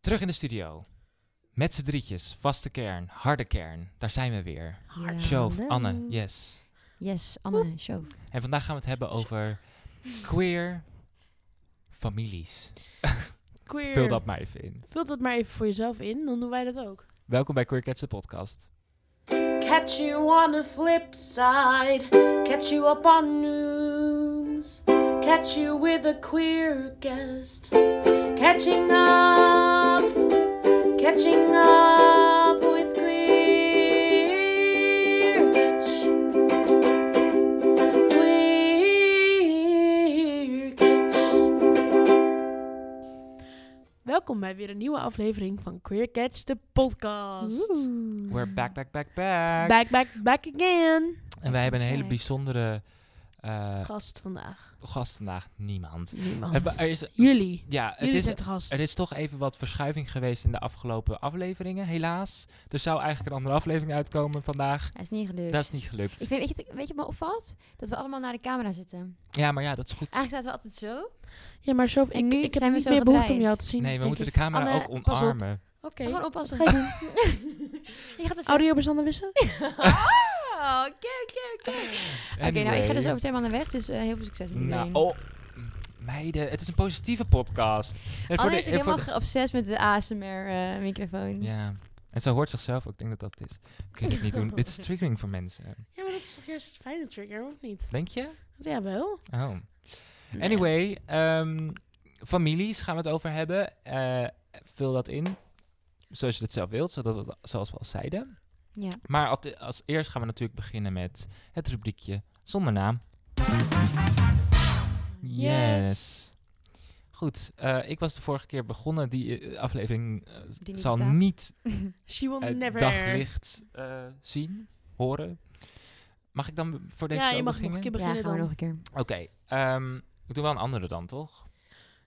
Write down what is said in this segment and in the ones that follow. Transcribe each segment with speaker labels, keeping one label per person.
Speaker 1: Terug in de studio. Met z'n drietjes, vaste kern, harde kern. Daar zijn we weer.
Speaker 2: Ja.
Speaker 1: Shove,
Speaker 2: Hallo.
Speaker 1: Anne, yes.
Speaker 2: Yes, Anne, show.
Speaker 1: En vandaag gaan we het hebben over queer families.
Speaker 3: Queer.
Speaker 1: Vul dat maar even in.
Speaker 3: Vul dat maar even voor jezelf in, dan doen wij dat ook.
Speaker 1: Welkom bij Queer Catch, de podcast.
Speaker 3: Catch you on the flip side. Catch you up on news. Catch you with a queer guest. Catching up. Catching up with queer. Catch. Queer Catch. Welkom bij weer een nieuwe aflevering van Queer Catch, de podcast.
Speaker 1: We're back, back, back, back.
Speaker 3: Mm. Back, back, back again.
Speaker 1: En wij hebben een hele
Speaker 2: Back.
Speaker 1: bijzondere eh,
Speaker 3: Gast vandaag.
Speaker 1: gast vandaag. Niemand.
Speaker 3: Niemand.
Speaker 1: Hebben- Er is,
Speaker 3: Jullie.
Speaker 1: ja, het
Speaker 3: Jullie
Speaker 1: is,
Speaker 3: zijn de gast.
Speaker 1: er is toch even wat verschuiving geweest in de afgelopen afleveringen, helaas. Er zou eigenlijk een andere aflevering uitkomen vandaag.
Speaker 2: Hij is niet gelukt.
Speaker 1: Dat is niet gelukt.
Speaker 2: Ik vind, weet, je, wat- weet je wat me opvalt? Dat we allemaal naar de camera zitten.
Speaker 1: Ja, maar ja, dat is goed.
Speaker 2: Eigenlijk zaten we altijd zo.
Speaker 3: Ja, maar zo, ik,
Speaker 2: En nu
Speaker 3: ik heb
Speaker 2: zijn we
Speaker 3: niet
Speaker 2: zo
Speaker 3: meer behoefte om
Speaker 2: gedraaid.
Speaker 3: jou te zien.
Speaker 1: Nee, we
Speaker 3: denk
Speaker 1: moeten
Speaker 3: ik.
Speaker 1: de camera
Speaker 2: Anne,
Speaker 1: ook
Speaker 2: pas op.
Speaker 1: omarmen.
Speaker 3: Oké.
Speaker 2: Gewoon oppassen.
Speaker 3: Wat ga je
Speaker 2: je gaat het
Speaker 3: Audiobestanden wissen?
Speaker 2: Oh, oké, oké, oké. Oké, nou, ik ga dus
Speaker 1: Anyway.
Speaker 2: over twee maanden weg, dus eh, heel veel succes met
Speaker 1: Nou,
Speaker 2: iedereen.
Speaker 1: oh, m- meiden, het is een positieve podcast. En
Speaker 2: Anne is
Speaker 1: en
Speaker 2: ook helemaal
Speaker 1: de-
Speaker 2: geobsessed met de eh, ASMR-microfoons.
Speaker 1: ja, en zo hoort zichzelf ook. Ik denk dat dat het is. Kun je dit niet doen? Dit is triggering voor mensen.
Speaker 3: Ja, maar dat is toch eerst het fijne trigger, of niet?
Speaker 1: Denk je?
Speaker 3: Ja, wel.
Speaker 1: Oh. Anyway, ehm, families gaan we het over hebben. Eh, vul dat in, zoals je het zelf wilt, zodat we, dat- zoals we al zeiden.
Speaker 2: Ja.
Speaker 1: Maar als, als eerst gaan we natuurlijk beginnen met het rubriekje zonder naam. Yes. Goed, eh, ik was de vorige keer begonnen. Die eh, aflevering eh,
Speaker 2: Die niet
Speaker 1: zal
Speaker 2: bestaat.
Speaker 1: niet
Speaker 3: She will
Speaker 1: het
Speaker 3: never...
Speaker 1: daglicht eh, zien, horen. Mag ik dan voor deze
Speaker 3: ja,
Speaker 1: keer
Speaker 3: je
Speaker 1: ook
Speaker 3: mag nog een
Speaker 1: beginnen?
Speaker 3: keer
Speaker 2: ja,
Speaker 3: beginnen
Speaker 2: gaan we
Speaker 3: dan.
Speaker 2: nog een keer.
Speaker 1: Oké, ehm, ik doe wel een andere dan, toch?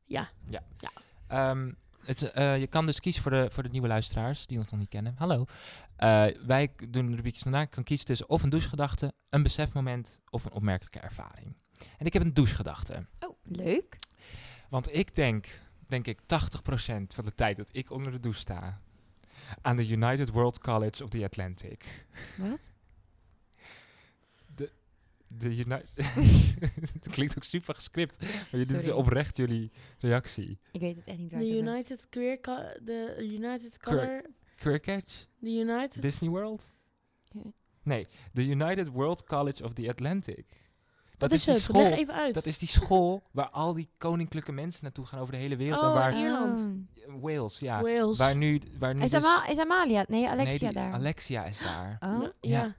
Speaker 3: Ja.
Speaker 1: Ja.
Speaker 3: Ja.
Speaker 1: Ehm, het, is, eh, je kan dus kiezen voor de, voor de nieuwe luisteraars die ons nog niet kennen. Hallo. Eh, wij k- doen de rubriekjes daarna. Ik kan kiezen tussen of een douchegedachte, een besefmoment of een opmerkelijke ervaring. En ik heb een douchegedachte.
Speaker 2: Oh, leuk.
Speaker 1: Want ik denk, denk ik, 80% van de tijd dat ik onder de douche sta aan de United World College of the Atlantic.
Speaker 2: Wat?
Speaker 1: De Uni- het klinkt ook super gescript, maar dit is
Speaker 2: Sorry.
Speaker 1: oprecht jullie reactie.
Speaker 2: Ik weet het echt niet waar
Speaker 3: De
Speaker 2: het over gaat.
Speaker 3: United Queer... co- De United
Speaker 1: Queer-
Speaker 3: Color...
Speaker 1: Queercatch?
Speaker 3: De United...
Speaker 1: Disney World?
Speaker 2: Ja.
Speaker 1: Nee, de United World College of the Atlantic. Dat,
Speaker 3: Wat
Speaker 1: is,
Speaker 3: het?
Speaker 1: die
Speaker 3: Leg
Speaker 1: school.
Speaker 3: even uit.
Speaker 1: Dat is die school waar al die koninklijke mensen naartoe gaan over de hele wereld. en
Speaker 3: Oh,
Speaker 1: waar
Speaker 3: eh, Ierland.
Speaker 2: Oh.
Speaker 1: Wales, ja.
Speaker 3: Wales.
Speaker 1: Waar nu, waar nu
Speaker 2: Is,
Speaker 1: dus-
Speaker 2: Ama- is Amalia? Nee,
Speaker 1: nee,
Speaker 2: Alexia
Speaker 1: die-
Speaker 2: daar.
Speaker 1: Alexia is daar.
Speaker 2: oh.
Speaker 3: Nou, ja.
Speaker 1: Ja.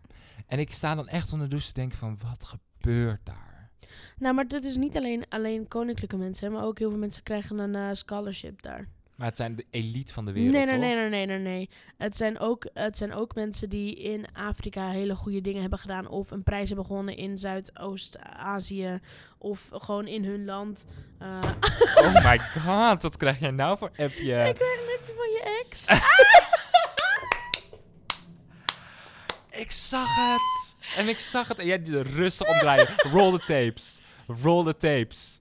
Speaker 1: En ik sta dan echt onder de douche te denken van wat gebeurt daar?
Speaker 3: Nou, maar dat is niet alleen, alleen koninklijke mensen, hè, maar ook heel veel mensen krijgen een eh, scholarship daar.
Speaker 1: Maar het zijn de elite van de wereld.
Speaker 3: nee, nee,
Speaker 1: toch?
Speaker 3: nee, nee, nee, nee, nee. Het zijn, ook, het zijn ook mensen die in Afrika hele goede dingen hebben gedaan. Of een prijs hebben gewonnen in Zuidoost-Azië. Of gewoon in hun land. Eh,
Speaker 1: Oh my god, wat krijg jij nou voor appje?
Speaker 3: ik krijg een appje van je ex.
Speaker 1: Ik zag het. En ik zag het. En jij die er rustig omdraaien. Roll the tapes. Roll the tapes.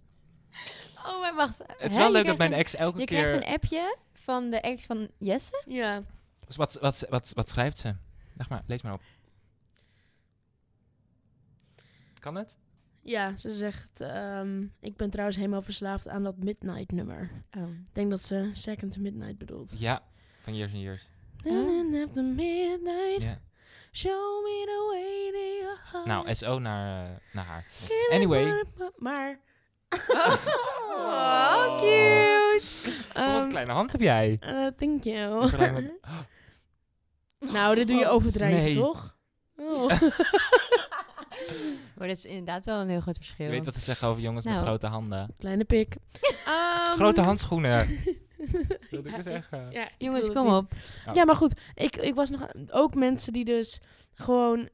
Speaker 2: Oh, maar wacht.
Speaker 1: Het is wel leuk dat mijn ex elke
Speaker 2: Je
Speaker 1: keer...
Speaker 2: krijgt een appje van de ex van Jesse.
Speaker 3: ja.
Speaker 1: Wat, wat, wat, wat schrijft ze? Zeg maar, lees maar op. Kan het?
Speaker 3: ja, ze zegt... ehm, ik ben trouwens helemaal verslaafd aan dat Midnight nummer.
Speaker 2: Oh.
Speaker 3: Ik denk dat ze Second to Midnight bedoelt.
Speaker 1: Ja, van Years and Years.
Speaker 3: And then after midnight,
Speaker 1: Ja.
Speaker 3: show me the way to your heart.
Speaker 1: Nou, SO naar, eh, naar haar.
Speaker 3: Give me
Speaker 1: anyway.
Speaker 3: what- Maar...
Speaker 2: Oh, cute.
Speaker 1: Oh. wat
Speaker 3: ehm,
Speaker 1: een kleine hand heb jij.
Speaker 3: Eh, thank
Speaker 2: Oh.
Speaker 3: you.
Speaker 1: Ik verlang met-
Speaker 3: nou, dit doe je overdrijven,
Speaker 1: Oh, Nee.
Speaker 3: toch? Oh.
Speaker 2: Maar dat is inderdaad wel een heel groot verschil.
Speaker 1: Je weet wat ze zeggen over jongens met
Speaker 2: Nou.
Speaker 1: grote handen.
Speaker 3: Kleine pik. Ehm,
Speaker 1: Grote handschoenen. Wilde ik
Speaker 3: Ja,
Speaker 1: er zeggen.
Speaker 3: ja, ik
Speaker 2: Jongens,
Speaker 3: bedoel
Speaker 2: kom
Speaker 3: het
Speaker 2: op.
Speaker 3: niet. Ja, maar goed. Ik, ik was nog... Ook mensen die dus gewoon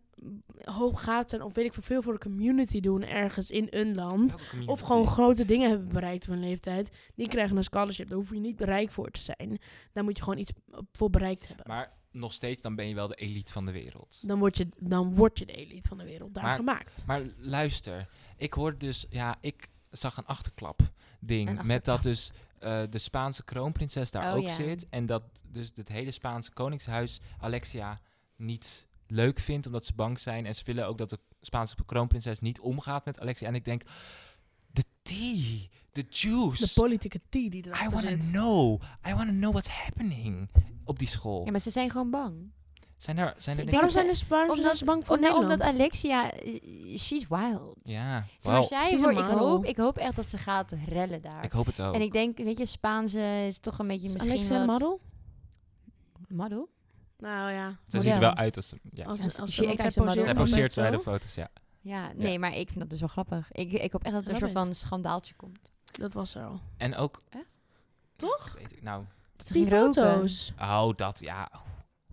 Speaker 3: hooggaat zijn... of weet ik veel, veel voor de community doen ergens in een land...
Speaker 1: Welke community?
Speaker 3: Of gewoon grote dingen hebben bereikt op hun leeftijd. Die krijgen een scholarship. Daar hoef je niet bereik voor te zijn. Daar moet je gewoon iets voor bereikt hebben.
Speaker 1: Maar nog steeds, dan ben je wel de elite van de wereld.
Speaker 3: Dan word je, dan word je de elite van de wereld daar
Speaker 1: Maar-
Speaker 3: gemaakt.
Speaker 1: Maar luister, ik hoorde dus, ja, ik zag een achterklap ding
Speaker 2: Een
Speaker 1: met dat
Speaker 2: achterklap.
Speaker 1: dus eh, de Spaanse kroonprinses daar
Speaker 2: Oh,
Speaker 1: ook
Speaker 2: ja.
Speaker 1: zit. En dat dus het hele Spaanse koningshuis Alexia niet leuk vindt, omdat ze bang zijn. En ze willen ook dat de Spaanse kroonprinses niet omgaat met Alexia. En ik denk, de tea, de
Speaker 4: De
Speaker 1: juice.
Speaker 4: politieke tea die
Speaker 1: I
Speaker 4: erachter
Speaker 1: want to
Speaker 4: zit.
Speaker 1: know. I want to know what's happening op die school.
Speaker 2: Ja, maar ze zijn gewoon bang.
Speaker 1: Zijn er, zijn er
Speaker 2: Ik
Speaker 1: dingen-
Speaker 4: Waarom
Speaker 2: dat
Speaker 4: zijn
Speaker 2: ze-
Speaker 4: de Spaanse
Speaker 2: Omdat,
Speaker 4: mensen bang voor
Speaker 2: om- nou,
Speaker 4: Nederland?
Speaker 2: omdat Alexia, eh, she's wild.
Speaker 1: Ja,
Speaker 2: Zeg maar,
Speaker 1: wel,
Speaker 4: Ze
Speaker 2: zij
Speaker 4: is
Speaker 2: wordt,
Speaker 4: een
Speaker 2: ik,
Speaker 4: marel.
Speaker 2: hoop, ik hoop echt dat ze gaat rellen daar.
Speaker 1: ik hoop het ook.
Speaker 2: en ik denk, weet je, Spaanse is toch een beetje
Speaker 4: Is
Speaker 2: misschien
Speaker 4: Alexia een
Speaker 2: wat-
Speaker 4: model?
Speaker 2: Model?
Speaker 4: Nou ja.
Speaker 1: ze ziet er wel uit als... Ja.
Speaker 4: Als,
Speaker 2: Ja,
Speaker 4: als,
Speaker 2: ze-
Speaker 4: als
Speaker 2: she
Speaker 4: iemand
Speaker 2: acts
Speaker 4: zij
Speaker 2: as a model.
Speaker 1: Zij
Speaker 4: poseert,
Speaker 1: poseert
Speaker 4: dan
Speaker 1: bij de
Speaker 4: zo,
Speaker 1: foto's, ja.
Speaker 2: Ja, nee, maar ik vind dat dus wel grappig. Ik, ik hoop echt dat er een
Speaker 4: Love
Speaker 2: soort van schandaaltje komt.
Speaker 4: Dat was er al.
Speaker 1: En ook...
Speaker 2: Echt?
Speaker 1: Toch? Weet ik, nou,
Speaker 2: Dat ze
Speaker 4: Die
Speaker 2: ging roken.
Speaker 4: foto's.
Speaker 1: oh, dat, ja.
Speaker 4: Ja,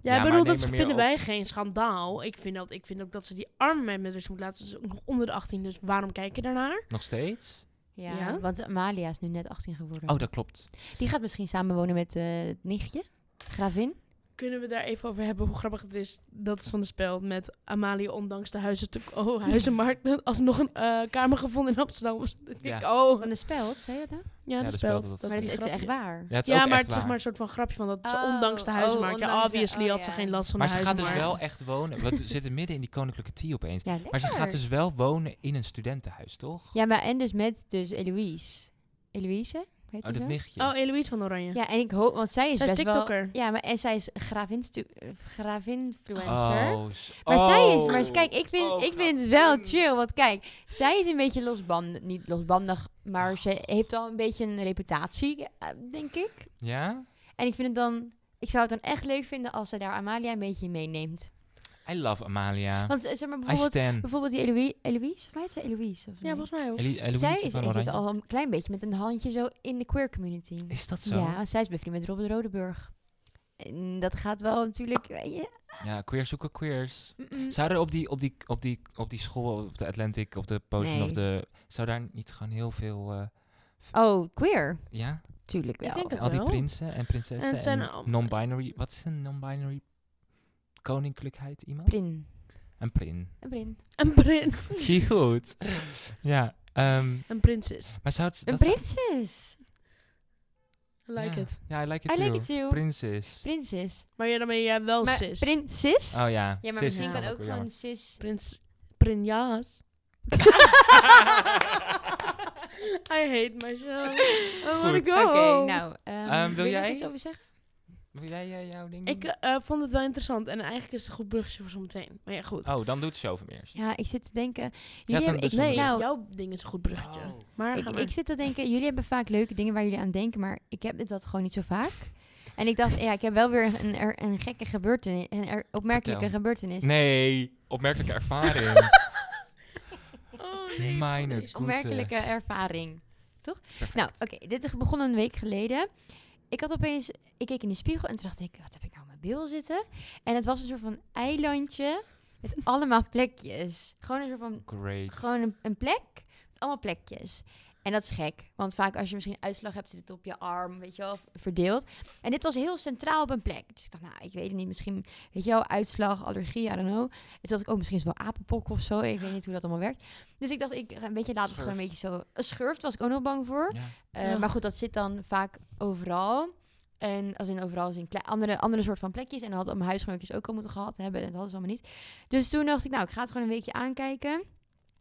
Speaker 1: Ja, maar
Speaker 4: ik bedoel,
Speaker 1: neem
Speaker 4: dat
Speaker 1: er meer
Speaker 4: vinden
Speaker 1: op.
Speaker 4: wij geen schandaal. Ik vind, dat, ik vind ook dat ze die arme mensen met rust moeten laten. Ze is ook nog onder de 18, dus waarom kijk je daarnaar?
Speaker 1: Nog steeds?
Speaker 2: Ja,
Speaker 4: Ja.
Speaker 2: want Amalia is nu net 18 geworden.
Speaker 1: Oh, dat klopt.
Speaker 2: Die gaat misschien samenwonen met eh, het nichtje, gravin.
Speaker 4: Kunnen we daar even over hebben hoe grappig het is? Dat is van de spel met Amalie, ondanks de huizen te, oh, huizenmarkt, alsnog een eh, kamer gevonden in Amsterdam. Dus ik
Speaker 1: Ja.
Speaker 4: denk, oh,
Speaker 2: Van de speld, zei je dat?
Speaker 4: ja,
Speaker 1: de
Speaker 4: dat
Speaker 1: speld
Speaker 4: speelt.
Speaker 1: dat-
Speaker 2: Maar het,
Speaker 4: die
Speaker 2: het is echt
Speaker 4: grapje.
Speaker 2: waar.
Speaker 1: Ja, het is
Speaker 4: Ja,
Speaker 1: ook
Speaker 4: maar
Speaker 1: echt
Speaker 4: het is zeg
Speaker 1: waar.
Speaker 4: maar een soort van grapje van dat ze
Speaker 2: Oh,
Speaker 4: ondanks de
Speaker 2: oh,
Speaker 4: huizenmarkt. ja,
Speaker 2: ondanks de-
Speaker 4: obviously
Speaker 2: oh,
Speaker 4: had ze
Speaker 2: ja.
Speaker 4: geen last van
Speaker 1: Maar
Speaker 4: de
Speaker 1: ze gaat dus
Speaker 4: huizenmarkt.
Speaker 1: wel echt wonen... Want we zitten midden in die koninklijke tea opeens.
Speaker 2: Ja,
Speaker 1: Maar ze gaat
Speaker 2: lekker.
Speaker 1: dus wel wonen in een studentenhuis, toch?
Speaker 2: Ja, maar en dus met dus Eloise. Eloise, weet je
Speaker 1: Oh, dat
Speaker 2: zo?
Speaker 1: nichtje.
Speaker 4: Oh, Eloïse van Oranje.
Speaker 2: Ja, en ik hoop, want zij is
Speaker 4: Zij is
Speaker 2: best
Speaker 4: TikToker.
Speaker 2: wel... Ja, maar en zij is gravinstu- eh, gravinfluencer.
Speaker 1: Oh, s-
Speaker 2: Maar zij is,
Speaker 1: oh.
Speaker 2: maar kijk, ik vind,
Speaker 1: Oh,
Speaker 2: ik vind het wel
Speaker 1: grapje.
Speaker 2: chill. Want kijk, zij is een beetje losbandig. Niet losbandig, maar ze heeft al een beetje een reputatie, eh, denk ik.
Speaker 1: Ja?
Speaker 2: En ik vind het dan... Ik zou het dan echt leuk vinden als zij daar Amalia een beetje in meeneemt.
Speaker 1: I love Amalia.
Speaker 2: Want eh, zeg maar
Speaker 1: I
Speaker 2: bijvoorbeeld,
Speaker 1: stand.
Speaker 2: bijvoorbeeld die Eloïse... Eloïse? Of mij zei Eloïse? Of
Speaker 4: Ja,
Speaker 2: nee?
Speaker 4: volgens mij ook.
Speaker 1: Elie- Eloise
Speaker 2: Zij is,
Speaker 1: van
Speaker 2: zit
Speaker 1: Oranje.
Speaker 2: al een klein beetje met een handje zo in de queer community.
Speaker 1: Is dat zo?
Speaker 2: Ja, want zij is bevriend met Robert Rodeburg. En dat gaat wel natuurlijk... weet je,
Speaker 1: Ja, queers zoeken queers.
Speaker 2: mm-mm.
Speaker 1: Zou er op die, op die, op die, op die school, op de Atlantic, op de Potion, of
Speaker 2: Nee.
Speaker 1: de... Zou daar niet gewoon heel veel... eh,
Speaker 2: Oh, queer.
Speaker 1: ja?
Speaker 2: Tuurlijk wel.
Speaker 4: Ik denk dat
Speaker 1: Al die
Speaker 4: wel.
Speaker 1: prinsen en prinsessen
Speaker 4: En
Speaker 1: en,
Speaker 4: het zijn al-
Speaker 1: non-binary... Wat is een non-binary koninklijkheid iemand?
Speaker 2: Prin.
Speaker 1: Een prin.
Speaker 2: Een prin.
Speaker 4: Een, prin
Speaker 1: Cute. ja. ehm,
Speaker 4: een prinses.
Speaker 1: maar zou het...
Speaker 2: Een
Speaker 1: dat zou-
Speaker 2: prinses.
Speaker 4: I like
Speaker 1: ja.
Speaker 4: it.
Speaker 1: Ja, I like
Speaker 2: I
Speaker 1: it
Speaker 2: like
Speaker 1: too.
Speaker 2: it too.
Speaker 1: Prinses.
Speaker 2: Prinses.
Speaker 4: Maar ja, dan ben jij wel
Speaker 2: Maar
Speaker 4: cis.
Speaker 2: prinses?
Speaker 1: oh ja.
Speaker 2: Ja, maar
Speaker 1: sis is
Speaker 2: misschien
Speaker 1: dan
Speaker 2: kan ook
Speaker 1: wel jammer.
Speaker 2: gewoon sis...
Speaker 4: Prins... Prinjaas. I hate myself. I wanna
Speaker 1: Goed.
Speaker 4: go.
Speaker 2: Oké, nou. ehm,
Speaker 1: Ehm, wil
Speaker 2: je
Speaker 1: jij?
Speaker 2: nog iets over zeggen?
Speaker 1: Wil jij eh, jouw ding
Speaker 4: Ik
Speaker 2: Mm.
Speaker 1: doen?
Speaker 4: eh, eh, vond het wel interessant. En eigenlijk is het een goed bruggetje voor zometeen. Maar ja, goed.
Speaker 1: Oh, dan doet Show van eerst.
Speaker 2: Ja, ik zit te denken... Jullie
Speaker 1: had
Speaker 2: hebben,
Speaker 1: een
Speaker 2: ik,
Speaker 1: bus-
Speaker 4: nee,
Speaker 1: Nee.
Speaker 2: nou,
Speaker 4: jouw ding is een goed bruggetje.
Speaker 1: Oh.
Speaker 4: Maar
Speaker 2: ik,
Speaker 4: ga
Speaker 2: ik
Speaker 4: maar.
Speaker 2: zit te denken, jullie hebben vaak leuke dingen waar jullie aan denken, maar ik heb dit- dat gewoon niet zo vaak. En ik dacht, ja, ik heb wel weer een, er- een gekke gebeurtenis, een er- opmerkelijke
Speaker 1: Vertel.
Speaker 2: gebeurtenis.
Speaker 1: Nee, opmerkelijke ervaring.
Speaker 4: Oh nee.
Speaker 1: Minor
Speaker 4: nee.
Speaker 2: Opmerkelijke ervaring.
Speaker 1: Perfect.
Speaker 2: Nou, oké, dit is begonnen een week geleden. Ik had opeens, ik keek in de spiegel en toen dacht ik, wat heb ik nou op mijn bil zitten? En het was een soort van eilandje met allemaal plekjes. Gewoon een soort van
Speaker 1: Great.
Speaker 2: Gewoon een, een plek, met allemaal plekjes. En dat is gek, want vaak als je misschien uitslag hebt, zit het op je arm, weet je wel, verdeeld. En dit was heel centraal op een plek. Dus ik dacht, nou, ik weet het niet, misschien, weet je wel, uitslag, allergie, I don't know. Dus dacht ik, oh, misschien is het wel apenpok of zo, ik weet niet hoe dat allemaal werkt. Dus ik dacht, ik ga een beetje laat het gewoon een beetje zo... Een schurft was ik ook nog bang voor.
Speaker 1: Ja.
Speaker 2: Eh,
Speaker 4: Ja.
Speaker 2: Maar goed, dat zit dan vaak overal. En als in overal, als in kle- andere, andere soort van plekjes. En dat hadden mijn huisgenootjes ook al moeten gehad hebben. En dat hadden ze allemaal niet. Dus toen dacht ik, nou, ik ga het gewoon een weekje aankijken.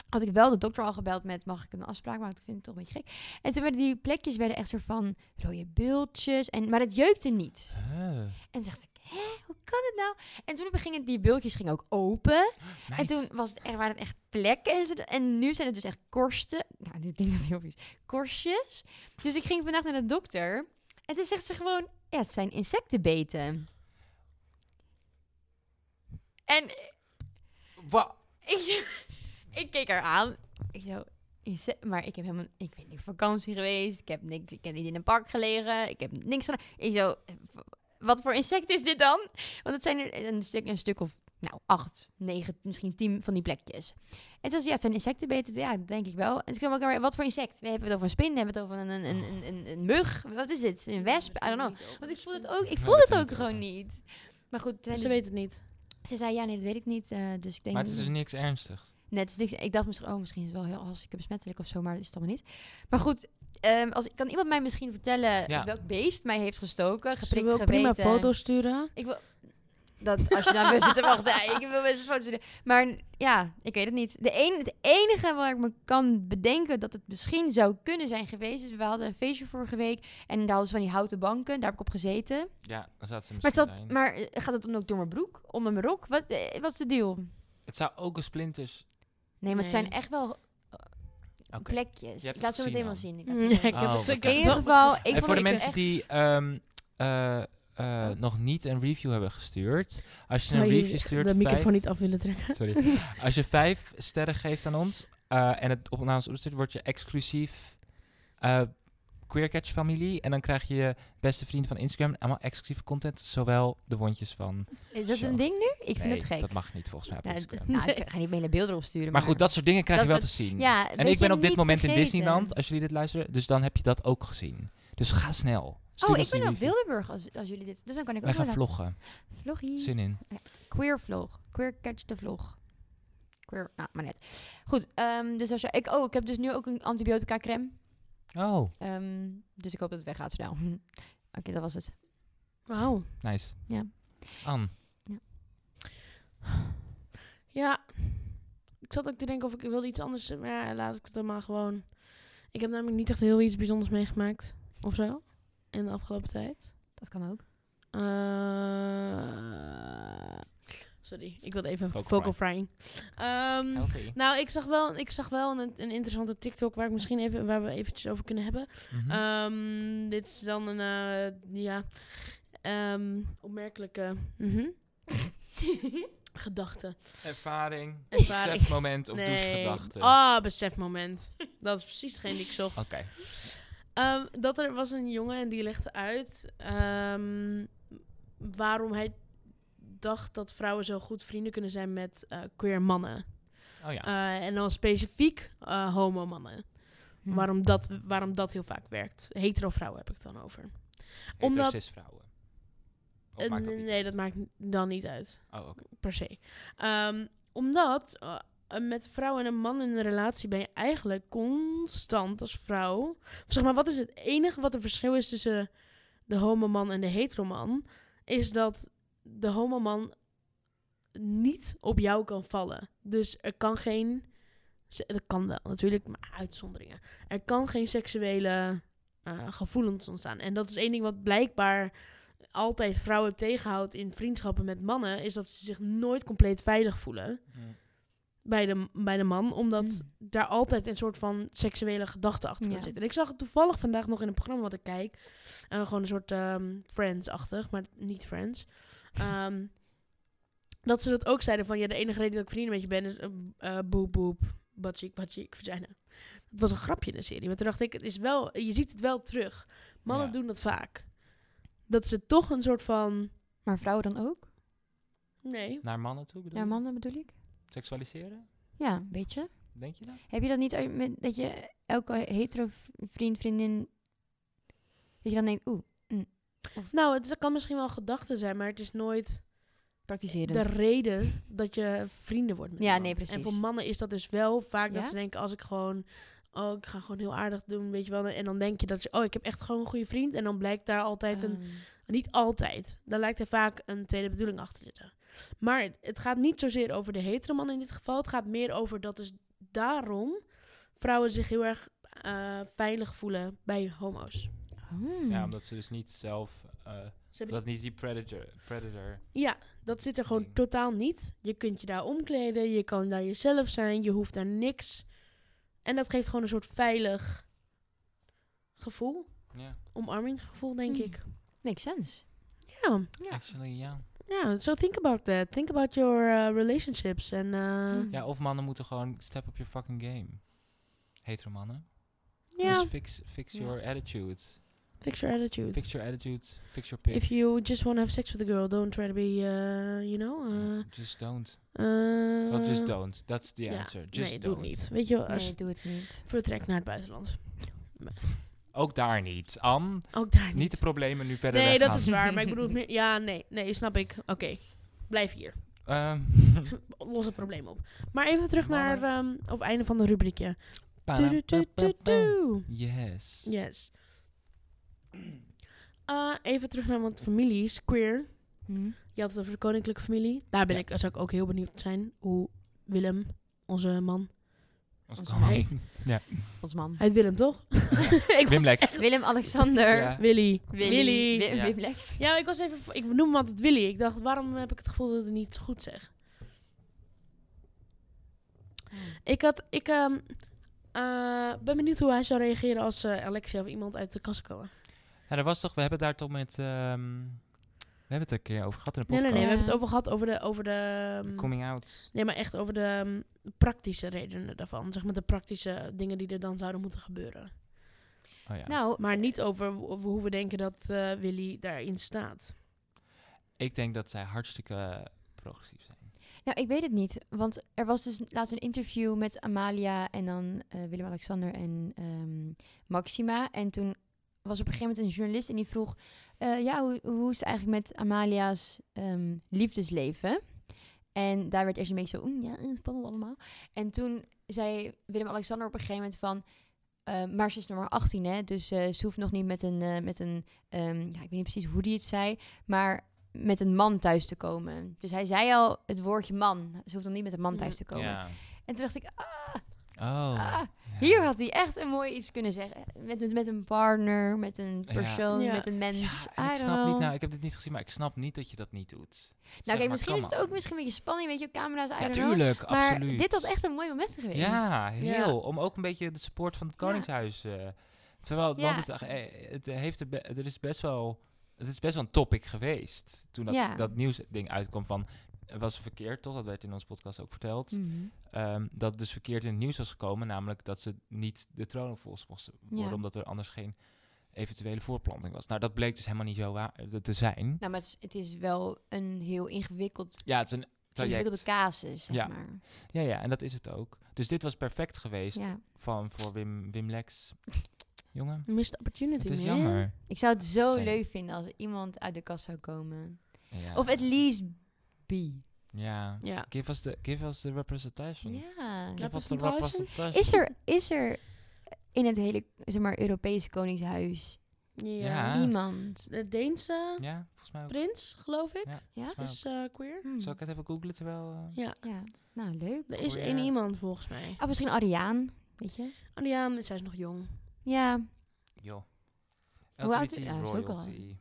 Speaker 2: Had ik wel de dokter al gebeld met, mag ik een afspraak maken? Ik vind het toch een beetje gek. En toen werden die plekjes werden echt soort van rode bultjes. En, maar het jeukte niet.
Speaker 1: Huh.
Speaker 2: En toen dacht ik, hè, hoe kan het nou? En toen gingen die bultjes gingen ook open. En
Speaker 1: Meid.
Speaker 2: toen was het echt, waren het echt plekken. En toen- En nu zijn het dus echt korsten. Nou, dit klinkt heel vies. Korstjes. Dus ik ging vandaag naar de dokter. En toen zegt ze gewoon, ja, het zijn insectenbeten. En
Speaker 1: Wa-
Speaker 2: ik, zo- ik keek haar aan. Ik zo, inse- maar ik heb helemaal, ik ben niet op vakantie geweest. Ik heb niks, ik heb niet in een park gelegen. Ik heb niks gedaan. Ik zo, wat voor insect is dit dan? Want het zijn er een stuk, een stuk of, nou, acht, negen, misschien tien van die plekjes. En ze was, ja, het zijn insectenbeten. Ja, dat denk ik wel. En ze kwam ook maar, wat voor insect? We hebben het over een spin, we hebben het over een, een, een, een, een, een mug. Wat is dit? Een wesp? I don't know. Want ik voel het ook, ik
Speaker 1: Ja,
Speaker 2: voel
Speaker 1: dat
Speaker 2: het
Speaker 1: vind
Speaker 2: ook
Speaker 1: ik
Speaker 2: gewoon
Speaker 1: ook.
Speaker 2: niet. Maar goed, het zijn
Speaker 4: Ze
Speaker 2: dus-
Speaker 4: weet het niet.
Speaker 2: ze zei, ja, nee, dat weet ik niet. eh, dus ik denk...
Speaker 1: Maar het is dus niks ernstigs.
Speaker 2: oh, Net, ik dacht misschien, oh, misschien is het wel heel hartstikke besmettelijk of zo, maar dat is het allemaal niet. Maar goed, ehm, als, kan iemand mij misschien vertellen
Speaker 1: Ja.
Speaker 2: welk beest mij heeft gestoken, geprikt,
Speaker 4: wil
Speaker 2: geweten?
Speaker 4: ook prima foto's sturen.
Speaker 2: Ik wil... Dat, als je naar zit te wachten, ik wil best een foto sturen. Maar ja, ik weet het niet. De een, het enige waar ik me kan bedenken dat het misschien zou kunnen zijn geweest... is we hadden een feestje vorige week en daar hadden ze van die houten banken. Daar heb ik op gezeten.
Speaker 1: Ja, dan zaten ze
Speaker 2: Maar, het
Speaker 1: misschien
Speaker 2: zat,
Speaker 1: daarin.
Speaker 2: maar eh, gaat het dan ook door mijn broek? Onder mijn rok? Wat, eh, wat is de deal? Nee,
Speaker 1: Het zou ook een splinters...
Speaker 2: maar het zijn
Speaker 4: Nee.
Speaker 2: echt wel eh,
Speaker 1: Oké.
Speaker 2: plekjes.
Speaker 1: Je hebt
Speaker 2: Ik laat
Speaker 1: het
Speaker 2: ze meteen wel zien.
Speaker 1: gezien
Speaker 2: Ik laat ze meteen
Speaker 4: Ja, ik
Speaker 2: wel zien.
Speaker 4: heb
Speaker 1: Oh,
Speaker 4: het, ik
Speaker 1: oké.
Speaker 4: heb
Speaker 2: In
Speaker 4: het
Speaker 2: ieder
Speaker 4: wel
Speaker 2: geval,
Speaker 4: gezien.
Speaker 2: ik
Speaker 1: en
Speaker 2: vond
Speaker 1: voor de
Speaker 2: het
Speaker 1: mensen
Speaker 2: echt... Oh.
Speaker 1: die ehm, eh, eh, nog niet een review hebben gestuurd. Als je een
Speaker 4: Zou je
Speaker 1: review stuurt...
Speaker 4: de
Speaker 1: vijf-
Speaker 4: microfoon niet af willen trekken.
Speaker 1: Sorry. Als je vijf sterren geeft aan ons eh, en het op namens opstuurt, word je exclusief eh Queercatch familie. En dan krijg je beste vrienden van Instagram allemaal exclusieve content. Zowel de wondjes van...
Speaker 2: Is dat
Speaker 1: Zo.
Speaker 2: een ding nu? Ik vind
Speaker 1: Nee,
Speaker 2: het gek.
Speaker 1: Dat mag niet volgens mij op
Speaker 2: Nou, het-
Speaker 1: Instagram.
Speaker 2: nou, ik ga niet hele beelden opsturen.
Speaker 1: Maar goed, dat soort dingen krijg
Speaker 2: dat
Speaker 1: je wel te
Speaker 2: soort-
Speaker 1: zien.
Speaker 2: Ja, dat
Speaker 1: en ik
Speaker 2: je
Speaker 1: ben op dit
Speaker 2: niet
Speaker 1: moment in
Speaker 2: vergeten. Oh,
Speaker 1: Disneyland, als jullie dit luisteren. Dus dan heb je dat ook gezien. Dus ga snel. Stuur
Speaker 2: Oh, ik
Speaker 1: ons een
Speaker 2: ben op
Speaker 1: review.
Speaker 2: Wildeburg als, als jullie dit... Dus dan kan ik
Speaker 1: Wij
Speaker 2: ook
Speaker 1: gaan
Speaker 2: wel laten-
Speaker 1: vloggen.
Speaker 2: Vloggie.
Speaker 1: Zin in.
Speaker 2: Queer vlog. Queer catch de vlog. Queer, nou, maar net. Goed, ehm, dus als je... Ik, oh, ik heb dus nu ook een antibiotica crème.
Speaker 1: Oh,
Speaker 2: Ehm, dus ik hoop dat het weggaat snel. Oké, dat was het.
Speaker 4: Wauw.
Speaker 1: nice.
Speaker 2: Ja.
Speaker 1: Anne,
Speaker 4: Ja. Ik zat ook te denken of ik wilde iets anders... Maar ja, laat ik het dan maar gewoon... Ik heb namelijk niet echt heel iets bijzonders meegemaakt. Of zo. In de afgelopen tijd.
Speaker 2: Dat kan ook.
Speaker 4: Eh, sorry, ik wilde even
Speaker 1: Vocal
Speaker 4: vocal, frying. Ehm,
Speaker 1: healthy.
Speaker 4: nou, ik zag wel, ik zag wel een, een interessante TikTok waar ik misschien even, waar we eventjes over kunnen hebben.
Speaker 1: Mhm.
Speaker 4: Ehm, dit is dan een, eh, ja, ehm, opmerkelijke mhm, gedachte.
Speaker 1: Ervaring,
Speaker 4: Ervaring.
Speaker 1: besefmoment of douchegedachte.
Speaker 4: Ah, besefmoment. Dat is precies hetgeen die ik zocht.
Speaker 1: Oké.
Speaker 4: Ehm, dat er was een jongen en die legde uit ehm, waarom hij dacht dat vrouwen zo goed vrienden kunnen zijn met eh, queer mannen.
Speaker 1: Oh ja. Mhm.
Speaker 4: Eh, en dan specifiek eh homo mannen. Waarom,
Speaker 2: Hm.
Speaker 4: dat, waarom dat heel vaak werkt. Hetero vrouwen heb ik het dan over. omdat-
Speaker 1: Heterosis vrouwen. Of
Speaker 4: Eh,
Speaker 1: maakt dat niet
Speaker 4: nee, dat maakt dan niet uit.
Speaker 1: uit? Oh, oké.
Speaker 4: per se. Ehm, omdat eh, eh, met een vrouw en een man in een relatie ben je eigenlijk constant als vrouw. Of zeg maar, wat is het enige wat er verschil is tussen de homoman en de heteroman? Is dat de homoman niet op jou kan vallen. Dus er kan geen. se- Dat kan wel natuurlijk, maar uitzonderingen. Er kan geen seksuele eh, gevoelens ontstaan. En dat is één ding wat blijkbaar altijd vrouwen tegenhoudt in vriendschappen met mannen, is dat ze zich nooit compleet veilig voelen
Speaker 1: Hmm.
Speaker 4: bij de, bij de man, omdat
Speaker 2: Mm.
Speaker 4: daar altijd een soort van seksuele gedachte achter kan
Speaker 2: Ja.
Speaker 4: zitten. En ik zag het toevallig vandaag nog in een programma wat ik kijk, eh, gewoon een soort ehm, Friends-achtig, maar niet Friends. Ehm, dat ze dat ook zeiden van, ja, de enige reden dat ik vrienden met je ben is eh, eh, boep, boep, batchik, batchik, vagina. Het was een grapje in de serie, maar toen dacht ik, het is wel, je ziet het wel terug. Mannen
Speaker 1: Ja.
Speaker 4: doen dat vaak. Dat ze toch een soort van...
Speaker 2: Maar vrouwen dan ook?
Speaker 4: Nee.
Speaker 1: Naar mannen toe bedoel
Speaker 2: Ja,
Speaker 1: je?
Speaker 2: mannen bedoel ik.
Speaker 1: Seksualiseren?
Speaker 2: Ja, een beetje.
Speaker 1: Denk je dat?
Speaker 2: Heb je dat niet uit- met- dat je elke hetero v- vriend, vriendin... Dat je dan denkt, oeh,
Speaker 4: Nou, het kan misschien wel een gedachte zijn, maar het is nooit de
Speaker 2: praktiserend.
Speaker 4: reden dat je vrienden wordt met
Speaker 2: Ja,
Speaker 4: iemand.
Speaker 2: nee, precies.
Speaker 4: En voor mannen is dat dus wel vaak dat
Speaker 2: Ja?
Speaker 4: ze denken, als ik gewoon... Oh, ik ga gewoon heel aardig doen, weet je wel. En dan denk je dat je, oh, ik heb echt gewoon een goede vriend. En dan blijkt daar altijd een...
Speaker 2: Ah.
Speaker 4: Niet altijd. Daar lijkt er vaak een tweede bedoeling achter zitten. Maar het, het gaat niet zozeer over de hetero man in dit geval. Het gaat meer over dat dus daarom vrouwen zich heel erg eh, veilig voelen bij homo's.
Speaker 2: Hmm.
Speaker 1: Ja, omdat ze dus niet zelf... eh,
Speaker 4: Ze hebben
Speaker 1: dat niet die predator... predator.
Speaker 4: Ja, dat zit er gewoon
Speaker 1: Ding.
Speaker 4: totaal niet. Je kunt je daar omkleden, je kan daar jezelf zijn, je hoeft daar niks. En dat geeft gewoon een soort veilig gevoel,
Speaker 1: Ja,
Speaker 4: omarmingsgevoel, denk
Speaker 2: Mm.
Speaker 4: ik.
Speaker 2: Makes sense.
Speaker 4: Ja,
Speaker 2: Ja.
Speaker 1: actually, ja.
Speaker 4: ja, so think about that. Think about your eh, relationships. En eh,
Speaker 2: Mm.
Speaker 1: Ja, of mannen moeten gewoon step up your fucking game. Hetero mannen.
Speaker 4: ja,
Speaker 1: Dus fix, fix
Speaker 2: Ja.
Speaker 1: your attitude.
Speaker 4: fix your attitude.
Speaker 1: Fix your attitude. Fix your pick.
Speaker 4: If you just want to have sex with a girl, don't try to be, eh, you know... eh
Speaker 1: Ja, Mm, just don't.
Speaker 4: eh,
Speaker 1: Well, just don't. That's the
Speaker 4: ja,
Speaker 1: answer. Just
Speaker 4: nee, doe
Speaker 1: don't.
Speaker 4: het niet. Weet je, wel, als
Speaker 2: Nee,
Speaker 4: je
Speaker 2: doe het niet.
Speaker 4: vertrekt naar het buitenland.
Speaker 1: Ook daar niet. Anne,
Speaker 4: Ook daar niet.
Speaker 1: niet de problemen nu verder
Speaker 4: Nee, dat
Speaker 1: weggaan.
Speaker 4: is waar. Maar ik bedoel, meer- ja, nee, nee, snap ik. Oké, blijf hier.
Speaker 1: Ehm,
Speaker 4: Los het probleem op. Maar even terug naar, ehm, op het einde van de rubriekje. Tudu-tudu-tudu.
Speaker 1: Yes.
Speaker 4: Yes. Eh, even terug naar wat families. Queer.
Speaker 2: Hm?
Speaker 4: Je had het over de koninklijke familie. Daar ben
Speaker 1: Ja.
Speaker 4: ik, zou ik ook heel benieuwd zijn hoe Willem, onze man.
Speaker 1: Als
Speaker 2: Ons
Speaker 1: koning.
Speaker 2: Ons man.
Speaker 4: Hij heet Willem, toch? ik
Speaker 1: Wim
Speaker 4: was-
Speaker 1: Lex.
Speaker 2: Willem-Alexander.
Speaker 1: Ja.
Speaker 4: Willy.
Speaker 2: Willy.
Speaker 4: Willy.
Speaker 2: Wi-
Speaker 1: Ja.
Speaker 2: Wim Lex.
Speaker 4: Ja, ik was even... Ik noem hem altijd Willy. Ik dacht, waarom heb ik het gevoel dat ik het niet goed zeg? Ik had... Ik ehm, eh, ben benieuwd hoe hij zou reageren als eh, Alexia of iemand uit de kast komen.
Speaker 1: Ja, er was toch, we hebben daar toch met, ehm, we hebben het er een keer over gehad in de
Speaker 4: Nee, nee,
Speaker 1: podcast.
Speaker 4: nee. We hebben het
Speaker 2: Ja.
Speaker 4: over gehad over de... Over de ehm,
Speaker 1: Coming out.
Speaker 4: nee, maar echt over de ehm, praktische redenen daarvan. Zeg maar de praktische dingen die er dan zouden moeten gebeuren.
Speaker 1: Oh, ja.
Speaker 2: Nou,
Speaker 4: Maar niet over ho- hoe we denken dat eh, Willy daarin staat.
Speaker 1: Ik denk dat zij hartstikke eh, progressief zijn.
Speaker 2: nou, ik weet het niet. Want er was dus laatst een interview met Amalia en dan eh, Willem-Alexander en ehm, Maxima. En toen was op een gegeven moment een journalist en die vroeg... eh, ja, hoe, hoe is het eigenlijk met Amalia's ehm, liefdesleven? En daar werd eerst een beetje zo... "Mm, ja, spannend allemaal. En toen zei Willem-Alexander op een gegeven moment van... eh, maar ze is nog maar 18, hè? Dus eh, ze hoeft nog niet met een... eh, met een ehm, ja, ik weet niet precies hoe die het zei, maar met een man thuis te komen. Dus hij zei al het woordje man. Ze hoeft nog niet met een man
Speaker 4: Ja.
Speaker 2: thuis te komen.
Speaker 1: Mm. Ja.
Speaker 2: En toen dacht ik, ah,
Speaker 1: Oh.
Speaker 2: Ah,
Speaker 1: ja.
Speaker 2: hier had hij echt een mooi iets kunnen zeggen. Met, met, met een partner, met een
Speaker 1: Ja.
Speaker 2: persoon,
Speaker 4: Ja.
Speaker 2: met een mens.
Speaker 1: Ja, en
Speaker 2: I
Speaker 1: ik
Speaker 2: don't
Speaker 1: snap niet,
Speaker 2: know.
Speaker 1: nou, ik heb dit niet gezien, maar ik snap niet dat je dat niet doet.
Speaker 2: nou, kijk, misschien is het ook misschien een beetje spanning, weet je, camera's, I don't know.
Speaker 1: Natuurlijk,
Speaker 2: Maar
Speaker 1: absoluut.
Speaker 2: dit had echt een mooi moment geweest.
Speaker 1: Ja,
Speaker 4: Ja.
Speaker 1: heel. Om ook een beetje de support van het
Speaker 2: Ja.
Speaker 1: Koningshuis. eh, terwijl,
Speaker 2: Ja.
Speaker 1: want het, eh, het heeft er, be- er is best wel, het is best wel een topic geweest. Toen dat,
Speaker 2: Ja.
Speaker 1: dat nieuwsding uitkwam van, eh, was verkeerd toch? Dat werd in onze podcast ook verteld.
Speaker 2: Mhm.
Speaker 1: Ehm, dat het dus verkeerd in het nieuws was gekomen. Namelijk dat ze niet de troon volgens mochten worden.
Speaker 2: Ja.
Speaker 1: Omdat er anders geen eventuele voortplanting was. Nou, dat bleek dus helemaal niet zo waar eh, te zijn.
Speaker 2: Nou, maar het is, het is wel een heel ingewikkeld,
Speaker 1: Ja, het is een
Speaker 2: ingewikkelde
Speaker 1: traject.
Speaker 2: casus, zeg
Speaker 1: Ja.
Speaker 2: maar.
Speaker 1: Ja, ja, en dat is het ook. Dus dit was perfect geweest
Speaker 2: Ja.
Speaker 1: van, voor Wim, Wim Lex. Jongen,
Speaker 4: Missed opportunity,
Speaker 1: het is
Speaker 4: man.
Speaker 1: jammer.
Speaker 2: Ik zou het zo
Speaker 1: Same.
Speaker 2: leuk vinden als iemand uit de kast zou komen.
Speaker 1: Ja.
Speaker 2: Of at least be.
Speaker 1: Ja.
Speaker 4: Ja.
Speaker 1: Give us the, give us the representation.
Speaker 2: Ja.
Speaker 1: Give us the
Speaker 4: Representation?
Speaker 1: representation.
Speaker 2: Is er, is er in het hele zeg maar, Europese koningshuis
Speaker 1: Ja.
Speaker 4: Ja.
Speaker 2: iemand?
Speaker 4: De Deense
Speaker 1: Ja, volgens mij ook.
Speaker 4: prins, geloof ik,
Speaker 1: Ja.
Speaker 2: Ja?
Speaker 1: volgens
Speaker 4: is eh, queer.
Speaker 2: Hmm.
Speaker 1: mij ook. Zal ik het even googlen terwijl... eh,
Speaker 4: Ja.
Speaker 2: Ja, nou leuk.
Speaker 4: Er is
Speaker 1: Queer.
Speaker 4: één iemand volgens mij. Oh,
Speaker 2: Of misschien Ariaan, weet je?
Speaker 4: Adriaan, zij is nog jong.
Speaker 2: Ja,
Speaker 1: Joh.
Speaker 2: Hoe oud-
Speaker 1: LGBT
Speaker 2: ja, is ook al-
Speaker 1: royalty.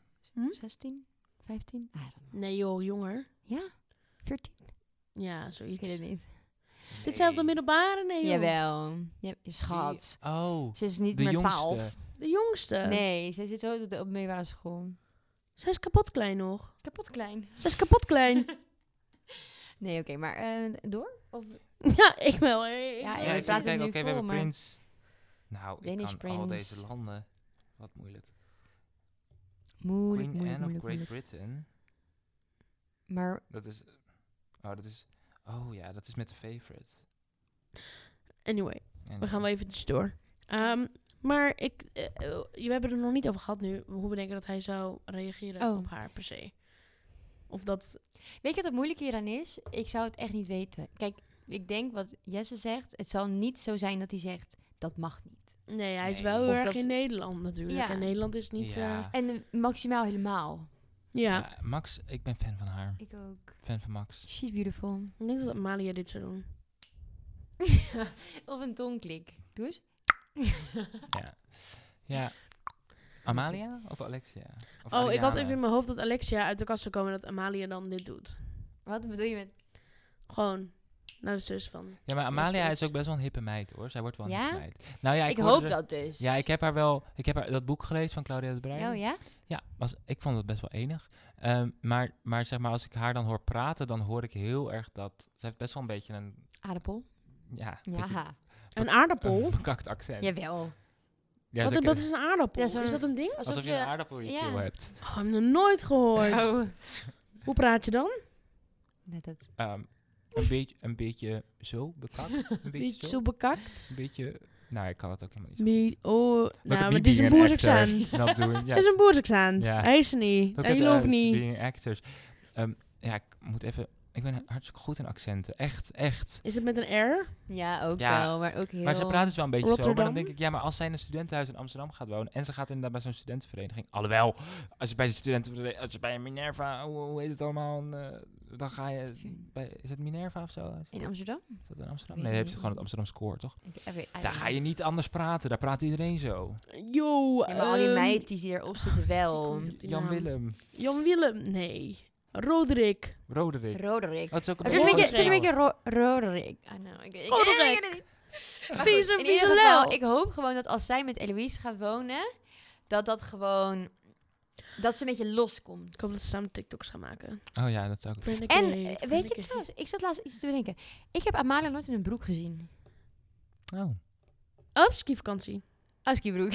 Speaker 2: 16, 15, I don't know.
Speaker 4: Nee joh, jonger.
Speaker 2: Ja, 14,
Speaker 4: Ja, zoiets.
Speaker 2: ik weet het niet.
Speaker 4: Zit zij op de
Speaker 1: Nee.
Speaker 4: middelbare? Nee joh.
Speaker 2: Jawel, ja, schat.
Speaker 1: Oh,
Speaker 2: Ze is niet
Speaker 1: de
Speaker 2: meer
Speaker 1: jongste.
Speaker 2: 12.
Speaker 4: De jongste.
Speaker 2: Nee, ze zit zo op de op de middelbare school.
Speaker 4: Zij is kapot klein nog.
Speaker 2: Kapot klein.
Speaker 4: Zij is kapot klein.
Speaker 2: Nee, oké, maar eh, door? Of
Speaker 4: ja, ik wel. eh, ik
Speaker 2: Ja,
Speaker 4: wel.
Speaker 1: Ja, ik
Speaker 2: we
Speaker 1: zit te
Speaker 2: praten
Speaker 1: kijken,
Speaker 2: nu
Speaker 1: oké, we hebben
Speaker 2: vol, maar-
Speaker 1: Prins. Nou, ik
Speaker 2: Danish
Speaker 1: kan al
Speaker 2: Prince.
Speaker 1: deze landen. Wat moeilijk.
Speaker 2: moeilijk,
Speaker 1: Queen
Speaker 2: moeilijk,
Speaker 1: Anne of
Speaker 2: moeilijk,
Speaker 1: Great
Speaker 2: moeilijk.
Speaker 1: Britain.
Speaker 2: Maar
Speaker 1: Dat is... Oh, dat is... Oh ja, dat is met de favorite.
Speaker 4: Anyway,
Speaker 1: En-
Speaker 4: we gaan wel eventjes door. Ehm, maar ik, eh, eh, we hebben er nog niet over gehad nu, hoe we denken dat hij zou reageren
Speaker 2: Oh.
Speaker 4: op haar per se. Of dat...
Speaker 2: Weet je wat het moeilijke hieraan is? Ik zou het echt niet weten. Kijk, ik denk wat Jesse zegt, het zal niet zo zijn dat hij zegt, dat mag niet.
Speaker 4: Nee, hij is
Speaker 1: Nee.
Speaker 4: wel
Speaker 1: Of
Speaker 4: heel erg
Speaker 2: dat-
Speaker 4: in Nederland natuurlijk.
Speaker 2: Ja.
Speaker 4: En Nederland is niet... eh,
Speaker 1: Ja.
Speaker 2: En eh, maximaal helemaal.
Speaker 4: ja.
Speaker 1: Ja, Max, ik ben fan van haar.
Speaker 2: Ik ook.
Speaker 1: Fan van Max.
Speaker 2: She's beautiful.
Speaker 4: Ik denk dat Amalia dit zou doen.
Speaker 2: of een tongklik. Doe eens.
Speaker 1: Ja. ja. Amalia of Alexia? Of
Speaker 4: Oh, ik had
Speaker 1: Ariana?
Speaker 4: even in mijn hoofd dat Alexia uit de kast zou komen en dat Amalia dan dit doet.
Speaker 2: Wat bedoel je met...
Speaker 4: Gewoon naar de zus van.
Speaker 1: Ja, maar Amalia
Speaker 4: zoiets.
Speaker 1: is ook best wel een hippe meid hoor. Zij wordt wel een
Speaker 2: Ja?
Speaker 1: hippe meid. Nou ja, ik,
Speaker 2: ik
Speaker 1: hoorde
Speaker 2: hoop
Speaker 1: er-
Speaker 2: dat dus.
Speaker 1: Ja, ik heb haar wel. Ik heb haar, dat boek gelezen van Claudia de Bruin.
Speaker 2: Oh ja?
Speaker 1: Ja, was, ik vond het best wel enig. Ehm, maar, maar zeg maar, als ik haar dan hoor praten, dan hoor ik heel erg dat. Ze heeft best wel een beetje een.
Speaker 2: Aardappel?
Speaker 1: Ja, een beetje
Speaker 2: Ja.
Speaker 4: Een aardappel?
Speaker 1: een bekakt accent.
Speaker 2: Jawel.
Speaker 1: Ja,
Speaker 4: wat,
Speaker 1: ze
Speaker 4: wat
Speaker 1: ken-
Speaker 4: is een aardappel?
Speaker 2: Ja, zo'n-
Speaker 4: is dat een ding?
Speaker 1: alsof je een aardappel in je
Speaker 2: ja.
Speaker 1: keel hebt.
Speaker 4: Oh, ik heb nog nooit
Speaker 2: Oh.
Speaker 4: gehoord. Hoe praat je dan?
Speaker 2: Net dat.
Speaker 1: Ehm, een, beetje, een beetje zo bekakt. Een beetje zo.
Speaker 4: Beetje zo bekakt.
Speaker 1: Een beetje. Nou, ik kan het ook helemaal niet zo.
Speaker 4: Be- oh, nou, maar
Speaker 1: Bibi
Speaker 4: dit is een
Speaker 1: en actor.
Speaker 4: boerzaksand.
Speaker 1: Snap doen. Ja,
Speaker 4: Dit is een boerzaksand.
Speaker 1: Ja.
Speaker 4: Hij is er niet.
Speaker 1: Look
Speaker 4: Hij
Speaker 1: at
Speaker 4: gelooft
Speaker 1: us
Speaker 4: niet.
Speaker 1: being actors. Ehm, ja, ik moet even Ik ben hartstikke goed in accenten. Echt, echt.
Speaker 4: Is het met een R?
Speaker 2: Ja, ook
Speaker 1: Ja.
Speaker 2: wel, maar ook heel...
Speaker 1: Maar ze praten dus wel een beetje zo. Maar dan
Speaker 4: Rotterdam?
Speaker 1: denk ik, ja, maar als zij in een studentenhuis in Amsterdam gaat wonen... en ze gaat inderdaad bij zo'n studentenvereniging... Alhoewel, als je bij de studentenvereniging... als je bij een Minerva, hoe, hoe heet het allemaal... een, eh, dan ga je... Bij, is het Minerva of zo? Is
Speaker 2: In Amsterdam?
Speaker 1: dat in Amsterdam? Nee, dan
Speaker 2: Weet ik
Speaker 1: heb je
Speaker 2: niet.
Speaker 1: gewoon het Amsterdamse koor, toch?
Speaker 2: Ik- I don't
Speaker 1: Daar ga je
Speaker 2: know.
Speaker 1: niet anders praten. Daar praat iedereen zo.
Speaker 4: Yo,
Speaker 2: Ja, maar al die
Speaker 4: ehm,
Speaker 2: meidjes die erop zitten wel.
Speaker 4: Ik weet die
Speaker 1: Jan
Speaker 4: naam.
Speaker 1: Willem,
Speaker 4: Jan Willem, nee. Roderick.
Speaker 1: Roderick.
Speaker 2: Roderick.
Speaker 1: Oh, het is ook een
Speaker 2: Het is een beetje, het is een
Speaker 1: Rotterdam.
Speaker 2: beetje ro Roderick. Ah, nou, ik, ik,
Speaker 4: Roderick.
Speaker 2: ik weet het niet. Maar
Speaker 4: Vieze,
Speaker 2: goed, in ieder
Speaker 4: vieze
Speaker 2: geval,
Speaker 4: lul.
Speaker 2: Ik hoop gewoon dat als zij met Eloise gaat wonen, dat dat gewoon... Dat ze een beetje loskomt.
Speaker 4: Ik hoop dat ze samen TikToks gaan maken.
Speaker 1: Oh ja, dat zou ook...
Speaker 2: En eh, weet je trouwens, ik zat laatst iets te bedenken. Ik heb Amalia nooit in een broek gezien.
Speaker 1: Oh,
Speaker 4: Op skivakantie.
Speaker 2: Aski broek.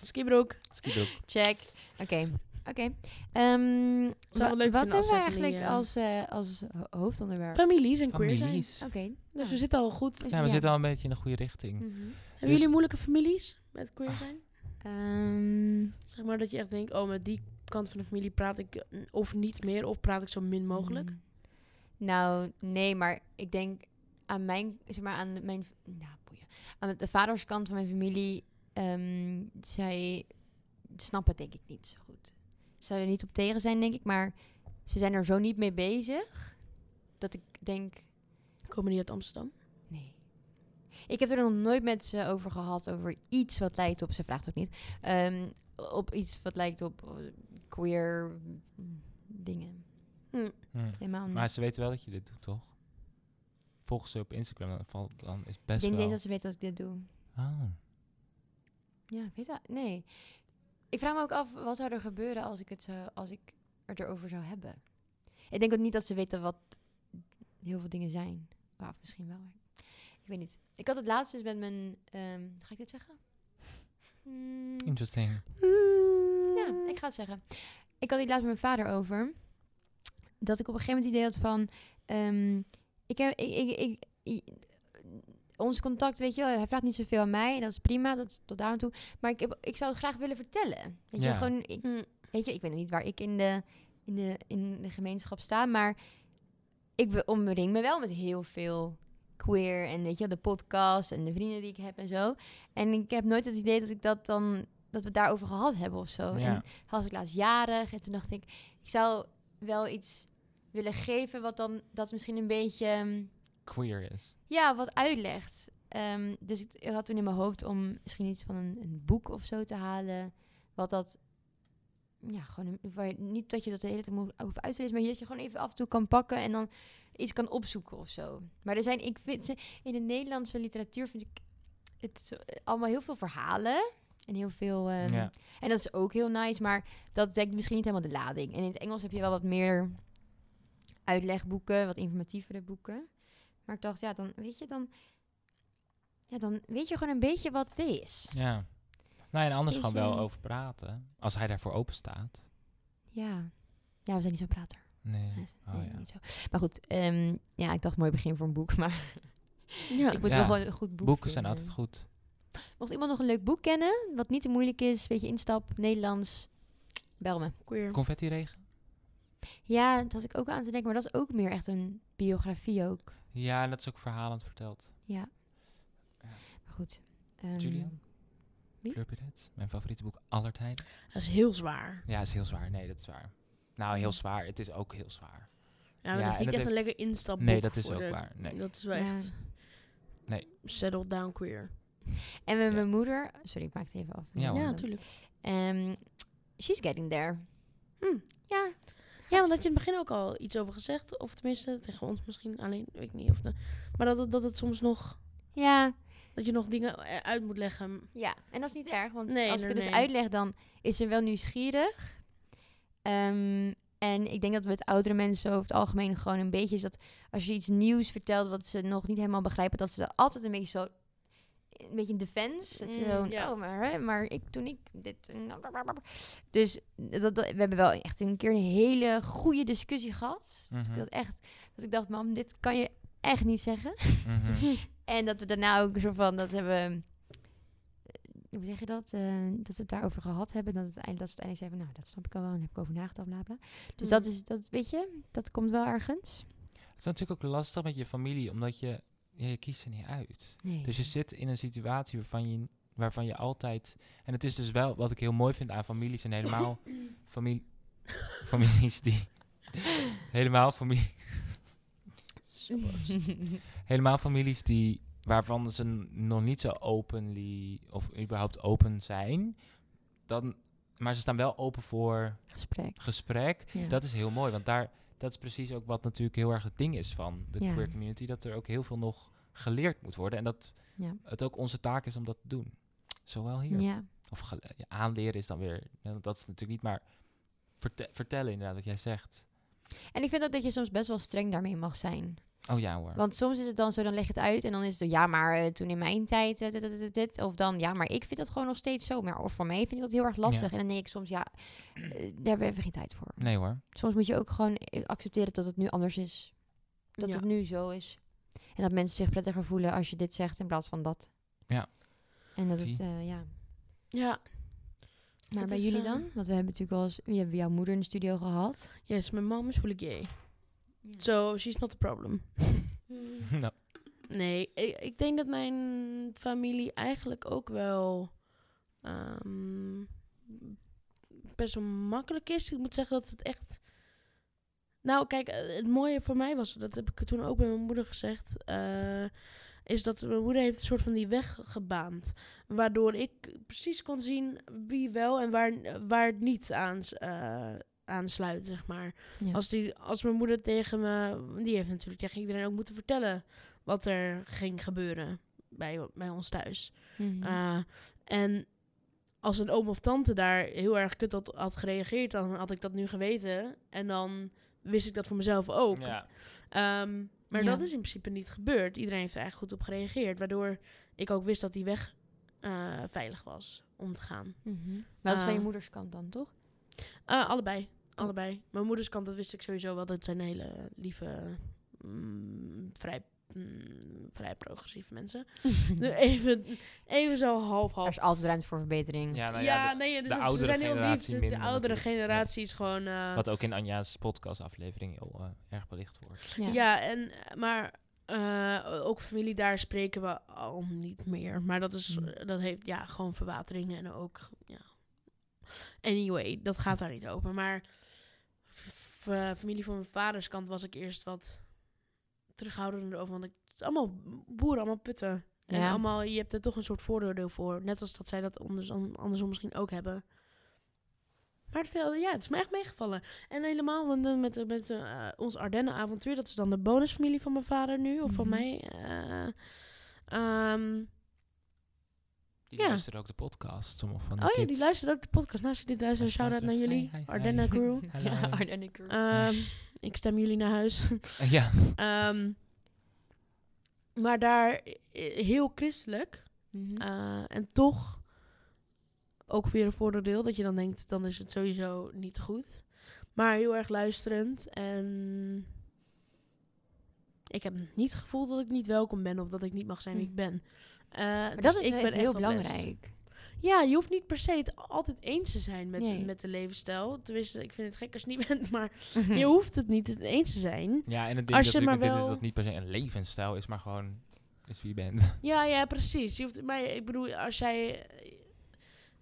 Speaker 4: Skibroek.
Speaker 1: skibroek.
Speaker 2: Check. Oké. Oké. Ehm,
Speaker 4: wel
Speaker 2: wa-
Speaker 4: leuk
Speaker 2: wat
Speaker 4: vinden als
Speaker 2: hebben we
Speaker 4: zij
Speaker 2: eigenlijk
Speaker 4: familie, eh,
Speaker 2: als, eh, als ho- hoofdonderwerp?
Speaker 4: Families en queer zijn.
Speaker 1: Families.
Speaker 2: Oké.
Speaker 4: Dus
Speaker 2: nou.
Speaker 4: we zitten al goed.
Speaker 2: Is-
Speaker 1: Ja, we
Speaker 2: Ja.
Speaker 1: zitten al een beetje in de goede richting.
Speaker 2: Mhm.
Speaker 4: Hebben jullie moeilijke families met queer
Speaker 1: Dus- Ach.
Speaker 4: zijn?
Speaker 2: Ehm,
Speaker 4: Zeg maar dat je echt denkt, oh, met die kant van de familie praat ik eh, of niet meer of praat ik zo min mogelijk.
Speaker 2: mm. Nou, nee, maar ik denk aan mijn, zeg maar aan mijn, nou, boeien. Aan de vaderskant van mijn familie, ehm, zij snappen het denk ik niet zo goed. Ze zouden er niet op tegen zijn, denk ik, maar ze zijn er zo niet mee bezig dat ik denk,
Speaker 4: Komen die uit Amsterdam?
Speaker 2: nee. Ik heb er nog nooit met ze over gehad, over iets wat lijkt op, ze vraagt ook niet, ehm, op iets wat lijkt op eh, queer mm, dingen.
Speaker 1: Hm.
Speaker 2: Helemaal niet.
Speaker 1: Maar ze weten wel dat je dit doet, toch? Volgens ze op Instagram, dan, valt, dan is
Speaker 2: Ik
Speaker 1: best
Speaker 2: denk
Speaker 1: wel...
Speaker 2: niet dat ze weet dat ik dit doe.
Speaker 1: Oh.
Speaker 2: Ja, ik weet dat. Nee. Ik vraag me ook af, wat zou er gebeuren als ik het, zou, als ik het erover zou hebben? Ik denk ook niet dat ze weten wat heel veel dingen zijn. Of misschien wel. Maar ik weet niet. Ik had het laatst dus met mijn... ehm, ga ik dit zeggen? Mm,
Speaker 1: Interesting. Mm.
Speaker 2: ja, ik ga het zeggen. Ik had dit laatst met mijn vader over. Dat ik op een gegeven moment het idee had van... ehm, ik heb... Ik, ik, ik, i- ons contact, weet je wel, hij vraagt niet zoveel aan mij. Dat is prima, dat is tot daar aan toe. Maar ik, heb, ik zou het graag willen vertellen. Weet je,
Speaker 1: Ja.
Speaker 2: gewoon... Ik,
Speaker 4: Mm.
Speaker 2: weet je, ik weet niet waar ik in de, in de, in de gemeenschap sta, maar... Ik be- omring me wel met heel veel queer en weet je, wel, de podcast en de vrienden die ik heb en zo. En ik heb nooit het idee dat ik dat dan dat we het daarover gehad hebben of zo. Oh, En
Speaker 1: Ja.
Speaker 2: was ik laatst jarig en toen dacht ik, ik zou wel iets willen geven wat dan dat misschien een beetje ehm,
Speaker 1: Queer is.
Speaker 2: ja wat uitlegt. Ehm, dus ik, ik had toen in mijn hoofd om misschien iets van een, een boek of zo te halen, wat dat ja gewoon een- waar je- niet dat je dat de hele tijd moet hoeft uit te lezen, maar dat je gewoon even af en toe kan pakken en dan iets kan opzoeken of zo. Maar er zijn, ik vind ze in de Nederlandse literatuur vind ik het zo- eh, allemaal heel veel verhalen en heel veel ehm,
Speaker 1: ja.
Speaker 2: en dat is ook heel nice, maar dat dekt misschien niet helemaal de lading. En in het Engels heb je wel wat meer uitlegboeken, wat informatievere boeken. Maar ik dacht, ja, dan weet je dan. Ja, dan weet je gewoon een beetje wat het is.
Speaker 1: ja. Nou, en anders
Speaker 2: Beetje-
Speaker 1: gewoon wel over praten. Als hij daarvoor open staat.
Speaker 2: Ja. Ja, we zijn niet zo'n prater.
Speaker 1: Nee.
Speaker 2: Nee,
Speaker 1: Oh ja.
Speaker 2: niet zo. Maar goed, ehm, ja, ik dacht mooi begin voor een boek, maar
Speaker 4: Ja.
Speaker 2: ik moet
Speaker 1: Ja.
Speaker 2: wel gewoon een goed boek
Speaker 1: Boeken zijn
Speaker 2: vinden.
Speaker 1: altijd goed.
Speaker 2: Mocht iemand nog een leuk boek kennen, wat niet te moeilijk is, een beetje instap, Nederlands, bel me.
Speaker 4: Queer.
Speaker 1: Confetti regen?
Speaker 2: Ja, dat had ik ook aan te denken, maar dat is ook meer echt een biografie ook.
Speaker 1: Ja, en dat is ook verhalend verteld.
Speaker 2: Ja.
Speaker 1: Ja.
Speaker 2: Maar goed. ehm,
Speaker 1: Julian?
Speaker 2: wie?
Speaker 1: Fleur Piret. Mijn favoriete boek aller tijden.
Speaker 4: Dat is heel zwaar.
Speaker 1: Ja, is heel zwaar. Nee, dat is waar. Nou, heel zwaar. Het is ook heel zwaar.
Speaker 4: Ja, maar
Speaker 1: Ja,
Speaker 4: dat
Speaker 1: en
Speaker 4: is niet
Speaker 1: dat
Speaker 4: echt een
Speaker 1: heeft-
Speaker 4: lekker instapboek.
Speaker 1: Nee, dat is
Speaker 4: voor
Speaker 1: ook
Speaker 4: de-
Speaker 1: waar. Nee.
Speaker 4: Dat is wel
Speaker 2: Ja.
Speaker 4: echt...
Speaker 1: Nee.
Speaker 4: Settle down queer.
Speaker 2: En met
Speaker 1: Ja.
Speaker 2: mijn moeder... Sorry, ik maak het even af.
Speaker 1: Ja, hoor.
Speaker 4: Ja,
Speaker 2: want-
Speaker 4: natuurlijk.
Speaker 2: Ehm, she's getting there.
Speaker 4: Hm.
Speaker 2: Ja.
Speaker 4: Ja, want had je in het begin ook al iets over gezegd. Of tenminste, tegen ons misschien. Alleen, weet ik niet. Of de, maar dat, het- dat het soms nog...
Speaker 2: Ja.
Speaker 4: Dat je nog dingen eh, uit moet leggen.
Speaker 2: Ja. En dat is niet erg, want
Speaker 4: Nee,
Speaker 2: als ik
Speaker 4: nee,
Speaker 2: het dus
Speaker 4: nee.
Speaker 2: uitleg, dan is ze wel nieuwsgierig. Ehm, en ik denk dat met oudere mensen over het algemeen gewoon een beetje is dat als je iets nieuws vertelt wat ze nog niet helemaal begrijpen, dat ze er altijd een beetje zo een beetje in defense. Dat ze
Speaker 4: Mm,
Speaker 2: zo,
Speaker 4: ja.
Speaker 2: oh, maar, hè, maar ik, toen ik dit... en nou, blablabla." Dus dat, dat- we hebben wel echt een keer een hele goede discussie gehad. Dat
Speaker 1: Mhm.
Speaker 2: ik dat echt... Dat ik dacht, mam, dit kan je echt niet zeggen.
Speaker 1: Mhm.
Speaker 2: En dat we daarna ook zo van, dat hebben... Hoe zeg je dat? Eh, dat we het daarover gehad hebben. Dat, het eind, dat ze uiteindelijk zeiden van, nou, dat snap ik al wel. En heb ik over nagedacht, bla, bla. Dus dat
Speaker 4: Hmm.
Speaker 2: is, dat weet je, dat komt wel ergens.
Speaker 1: Het is natuurlijk ook lastig met je familie, omdat je, ja, je kiest er niet uit.
Speaker 2: Nee.
Speaker 1: Dus je zit in een situatie waarvan je, waarvan je altijd... En het is dus wel wat ik heel mooi vind aan families en helemaal familie, families die... helemaal, familie, helemaal families die waarvan ze n- nog niet zo openly of überhaupt open zijn. Dan, maar ze staan wel open voor
Speaker 2: Gesprek.
Speaker 1: gesprek.
Speaker 2: Ja.
Speaker 1: Dat is heel mooi, want daar, dat is precies ook wat natuurlijk heel erg het ding is van de
Speaker 2: Ja.
Speaker 1: queer community. Dat er ook heel veel nog geleerd moet worden. En dat
Speaker 2: Ja.
Speaker 1: het ook onze taak is om dat te doen. Zowel hier.
Speaker 2: ja.
Speaker 1: Of gele- ja, aanleren is dan weer, ja, want dat is natuurlijk niet, maar verte- vertellen inderdaad wat jij zegt.
Speaker 2: En ik vind ook dat je soms best wel streng daarmee mag zijn.
Speaker 1: Oh ja hoor.
Speaker 2: Want soms is het dan zo, dan leg je het uit en dan is het zo, ja, maar eh, toen in mijn tijd, eh, dit, dit, dit, dit. Of dan, ja, maar ik vind dat gewoon nog steeds zo. Maar of voor mij vind ik dat heel erg lastig. En dan denk ik soms, ja, eh, daar hebben we even geen tijd voor.
Speaker 1: Nee hoor.
Speaker 2: Soms moet je ook gewoon eh, accepteren dat het nu anders is. Dat
Speaker 4: Ja.
Speaker 2: het nu zo is. En dat mensen zich prettiger voelen als je dit zegt in plaats van dat.
Speaker 1: Ja.
Speaker 2: En dat het,
Speaker 1: Zie.
Speaker 2: eh, ja.
Speaker 4: Ja,
Speaker 2: Maar
Speaker 4: Het
Speaker 2: bij
Speaker 4: is,
Speaker 2: jullie
Speaker 4: eh,
Speaker 2: dan? Want we hebben natuurlijk wel eens, we hebben jouw moeder in de studio gehad.
Speaker 4: yes, mijn mom is fully gay.
Speaker 2: Ja.
Speaker 4: So, she's not the problem.
Speaker 1: Nou,
Speaker 4: Nee, ik, ik denk dat mijn familie eigenlijk ook wel ehm, best wel makkelijk is. Ik moet zeggen dat ze het echt. Nou, kijk, eh, het mooie voor mij was, dat heb ik toen ook bij mijn moeder gezegd, eh, is dat mijn moeder heeft een soort van die weg gebaand. Waardoor ik precies kon zien wie wel en waar, waar het niet aan, eh, aansluit, zeg maar.
Speaker 2: Ja.
Speaker 4: Als, die, als mijn moeder tegen me... Die heeft natuurlijk tegen iedereen ook moeten vertellen wat er ging gebeuren bij, bij ons thuis.
Speaker 2: Mhm.
Speaker 4: Eh, en als een oom of tante daar heel erg kut had, had gereageerd, dan had ik dat nu geweten. En dan wist ik dat voor mezelf ook.
Speaker 1: ja.
Speaker 4: Ehm, maar
Speaker 2: Ja.
Speaker 4: dat is in principe niet gebeurd. Iedereen heeft er eigenlijk goed op gereageerd. Waardoor ik ook wist dat die weg eh, veilig was om te gaan.
Speaker 2: Mhm. Maar dat is van je
Speaker 4: eh,
Speaker 2: moeders kant dan, toch?
Speaker 4: Eh, allebei. Allebei. Mijn moeders kant, dat wist ik sowieso wel. Dat zijn hele lieve, mm, vrij, mm, vrij progressieve mensen. Nu even, even zo
Speaker 2: Er
Speaker 4: half-half.
Speaker 2: is altijd ruimte voor verbetering.
Speaker 1: ja, nou
Speaker 4: ja,
Speaker 1: ja,
Speaker 4: nee,
Speaker 1: de
Speaker 4: dus ze- ze
Speaker 1: oudere
Speaker 4: zijn heel lief.
Speaker 1: generatie
Speaker 4: Dus de
Speaker 1: minder
Speaker 4: oudere
Speaker 1: natuurlijk.
Speaker 4: generatie is gewoon... eh,
Speaker 1: Wat ook in Anja's podcastaflevering heel eh, erg belicht wordt.
Speaker 2: Ja.
Speaker 4: ja. en, maar eh, ook familie, daar spreken we al niet meer. Maar dat, is,
Speaker 1: Hmm.
Speaker 4: dat heeft ja, gewoon verwateringen en ook... Ja. Anyway, dat gaat daar niet over. Maar f- f- eh, familie van mijn vaders kant was ik eerst wat terughoudender over. Want ik, het is allemaal boeren, allemaal putten. En
Speaker 2: Ja.
Speaker 4: allemaal, je hebt er toch een soort vooroordeel voor. Net als dat zij dat andersom, andersom misschien ook hebben. Maar het, viel- ja, het is me echt meegevallen. En helemaal want, eh, met, met eh, ons Ardennen-avontuur. Dat is dan de bonusfamilie van mijn vader nu. Of van
Speaker 2: Mhm.
Speaker 4: mij. eh, ehm,
Speaker 1: Die
Speaker 4: Ja.
Speaker 1: luisteren ook de podcast, sommige van de
Speaker 4: oh ja,
Speaker 1: kids.
Speaker 4: die luistert ook de podcast. Naast je dit luisteren,
Speaker 1: Luisteren
Speaker 4: shout-out naar
Speaker 1: ze.
Speaker 4: jullie.
Speaker 1: Hi, hi, hi.
Speaker 4: Ardenna Crew.
Speaker 1: Hallo.
Speaker 4: Ehm, ik stem jullie naar huis.
Speaker 1: ja.
Speaker 4: Ehm, maar daar eh, heel christelijk.
Speaker 2: Mhm.
Speaker 4: Eh, en toch ook weer een voordeel dat je dan denkt, dan is het sowieso niet goed. Maar heel erg luisterend en ik heb niet het gevoel dat ik niet welkom ben of dat ik niet mag zijn wie
Speaker 2: Hm.
Speaker 4: ik ben. Eh,
Speaker 2: maar
Speaker 4: dus
Speaker 2: dat is
Speaker 4: ik
Speaker 2: wel
Speaker 4: ben
Speaker 2: echt heel
Speaker 4: echt wel blessed.
Speaker 2: belangrijk.
Speaker 4: Ja, je hoeft niet per se het altijd eens te zijn met,
Speaker 2: Nee.
Speaker 4: met de levensstijl. Tenminste, ik vind het gek als je het niet bent, maar
Speaker 2: Hm.
Speaker 4: je hoeft het niet het eens te zijn.
Speaker 1: ja, en het ding
Speaker 4: Als je
Speaker 1: natuurlijk
Speaker 4: maar
Speaker 1: met dit is
Speaker 4: wel-
Speaker 1: dat het niet per se een levensstijl is, maar gewoon is wie je bent.
Speaker 4: Ja, ja, precies. Je hoeft, maar ik bedoel, als jij...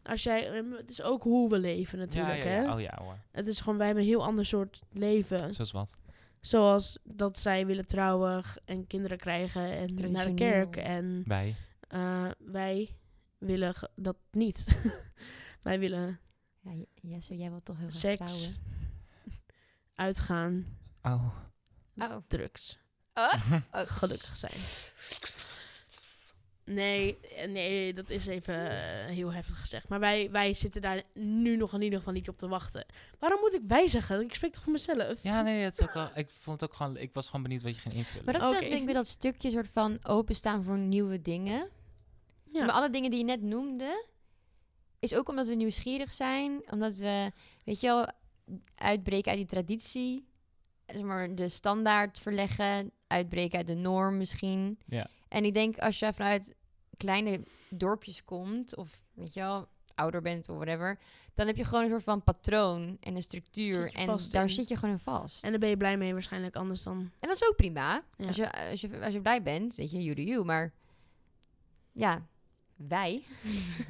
Speaker 4: Als jij, ehm, het is ook hoe we leven natuurlijk,
Speaker 1: ja, ja,
Speaker 4: hè?
Speaker 1: ja. Oh ja hoor,
Speaker 4: Het is gewoon, wij hebben een heel ander soort leven.
Speaker 1: zoals wat.
Speaker 4: Zoals dat zij willen trouwen g- en kinderen krijgen en naar de
Speaker 2: Traditioneel.
Speaker 4: kerk. En
Speaker 1: Wij.
Speaker 4: eh, wij willen ge- dat niet. wij willen
Speaker 2: Ja, J- Jesse, jij wilt toch heel graag
Speaker 4: seks,
Speaker 2: trouwen?
Speaker 4: uitgaan,
Speaker 1: Oh.
Speaker 2: Oh.
Speaker 4: drugs.
Speaker 2: oh,
Speaker 4: Gelukkig zijn. Nee, eh, nee, dat is even eh, heel heftig gezegd. Maar wij, wij zitten daar nu nog in ieder geval niet op te wachten. Waarom moet ik wij zeggen? Ik spreek toch voor mezelf?
Speaker 1: Ja, nee, het is ook wel, ik vond het ook gewoon, ik was gewoon benieuwd wat je ging invullen.
Speaker 2: Maar dat is dat,
Speaker 4: Oké.
Speaker 2: denk ik met dat stukje soort van openstaan voor nieuwe dingen. Dus maar alle dingen die je net noemde, is ook omdat we nieuwsgierig zijn. Omdat we, weet je wel, uitbreken uit die traditie. Zeg maar, de standaard verleggen. Uitbreken uit de norm misschien.
Speaker 1: Ja.
Speaker 2: En ik denk als je vanuit kleine dorpjes komt, of weet je wel, ouder bent of whatever, dan heb je gewoon een soort van patroon en een structuur.
Speaker 4: Zit je
Speaker 2: En
Speaker 4: vast
Speaker 2: daar
Speaker 4: in.
Speaker 2: zit je gewoon in vast.
Speaker 4: En daar ben je blij mee waarschijnlijk, anders dan...
Speaker 2: En dat is ook prima.
Speaker 4: Ja.
Speaker 2: Als, je, als, je, als je blij bent, weet je, you do you. Maar ja, wij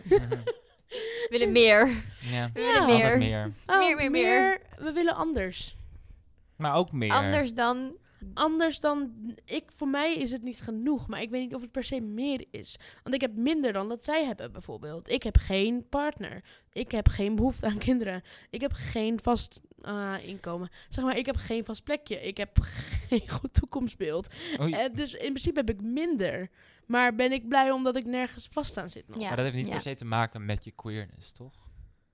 Speaker 2: willen meer.
Speaker 1: ja.
Speaker 2: We
Speaker 4: Ja.
Speaker 2: willen
Speaker 1: Altijd
Speaker 2: meer.
Speaker 1: meer.
Speaker 4: Oh,
Speaker 2: Meer, meer, meer.
Speaker 4: We willen anders.
Speaker 1: Maar ook meer.
Speaker 2: Anders dan...
Speaker 4: Anders dan... Ik, voor mij is het niet genoeg, maar ik weet niet of het per se meer is. Want ik heb minder dan dat zij hebben, bijvoorbeeld. Ik heb geen partner. Ik heb geen behoefte aan kinderen. Ik heb geen vast eh, inkomen. Zeg maar, ik heb geen vast plekje. Ik heb geen goed toekomstbeeld.
Speaker 1: Oei.
Speaker 4: Eh, dus in principe heb ik minder. Maar ben ik blij omdat ik nergens vast aan zit nog?
Speaker 2: Ja.
Speaker 1: maar dat heeft niet
Speaker 2: ja.
Speaker 1: per se te maken met je queerness, toch?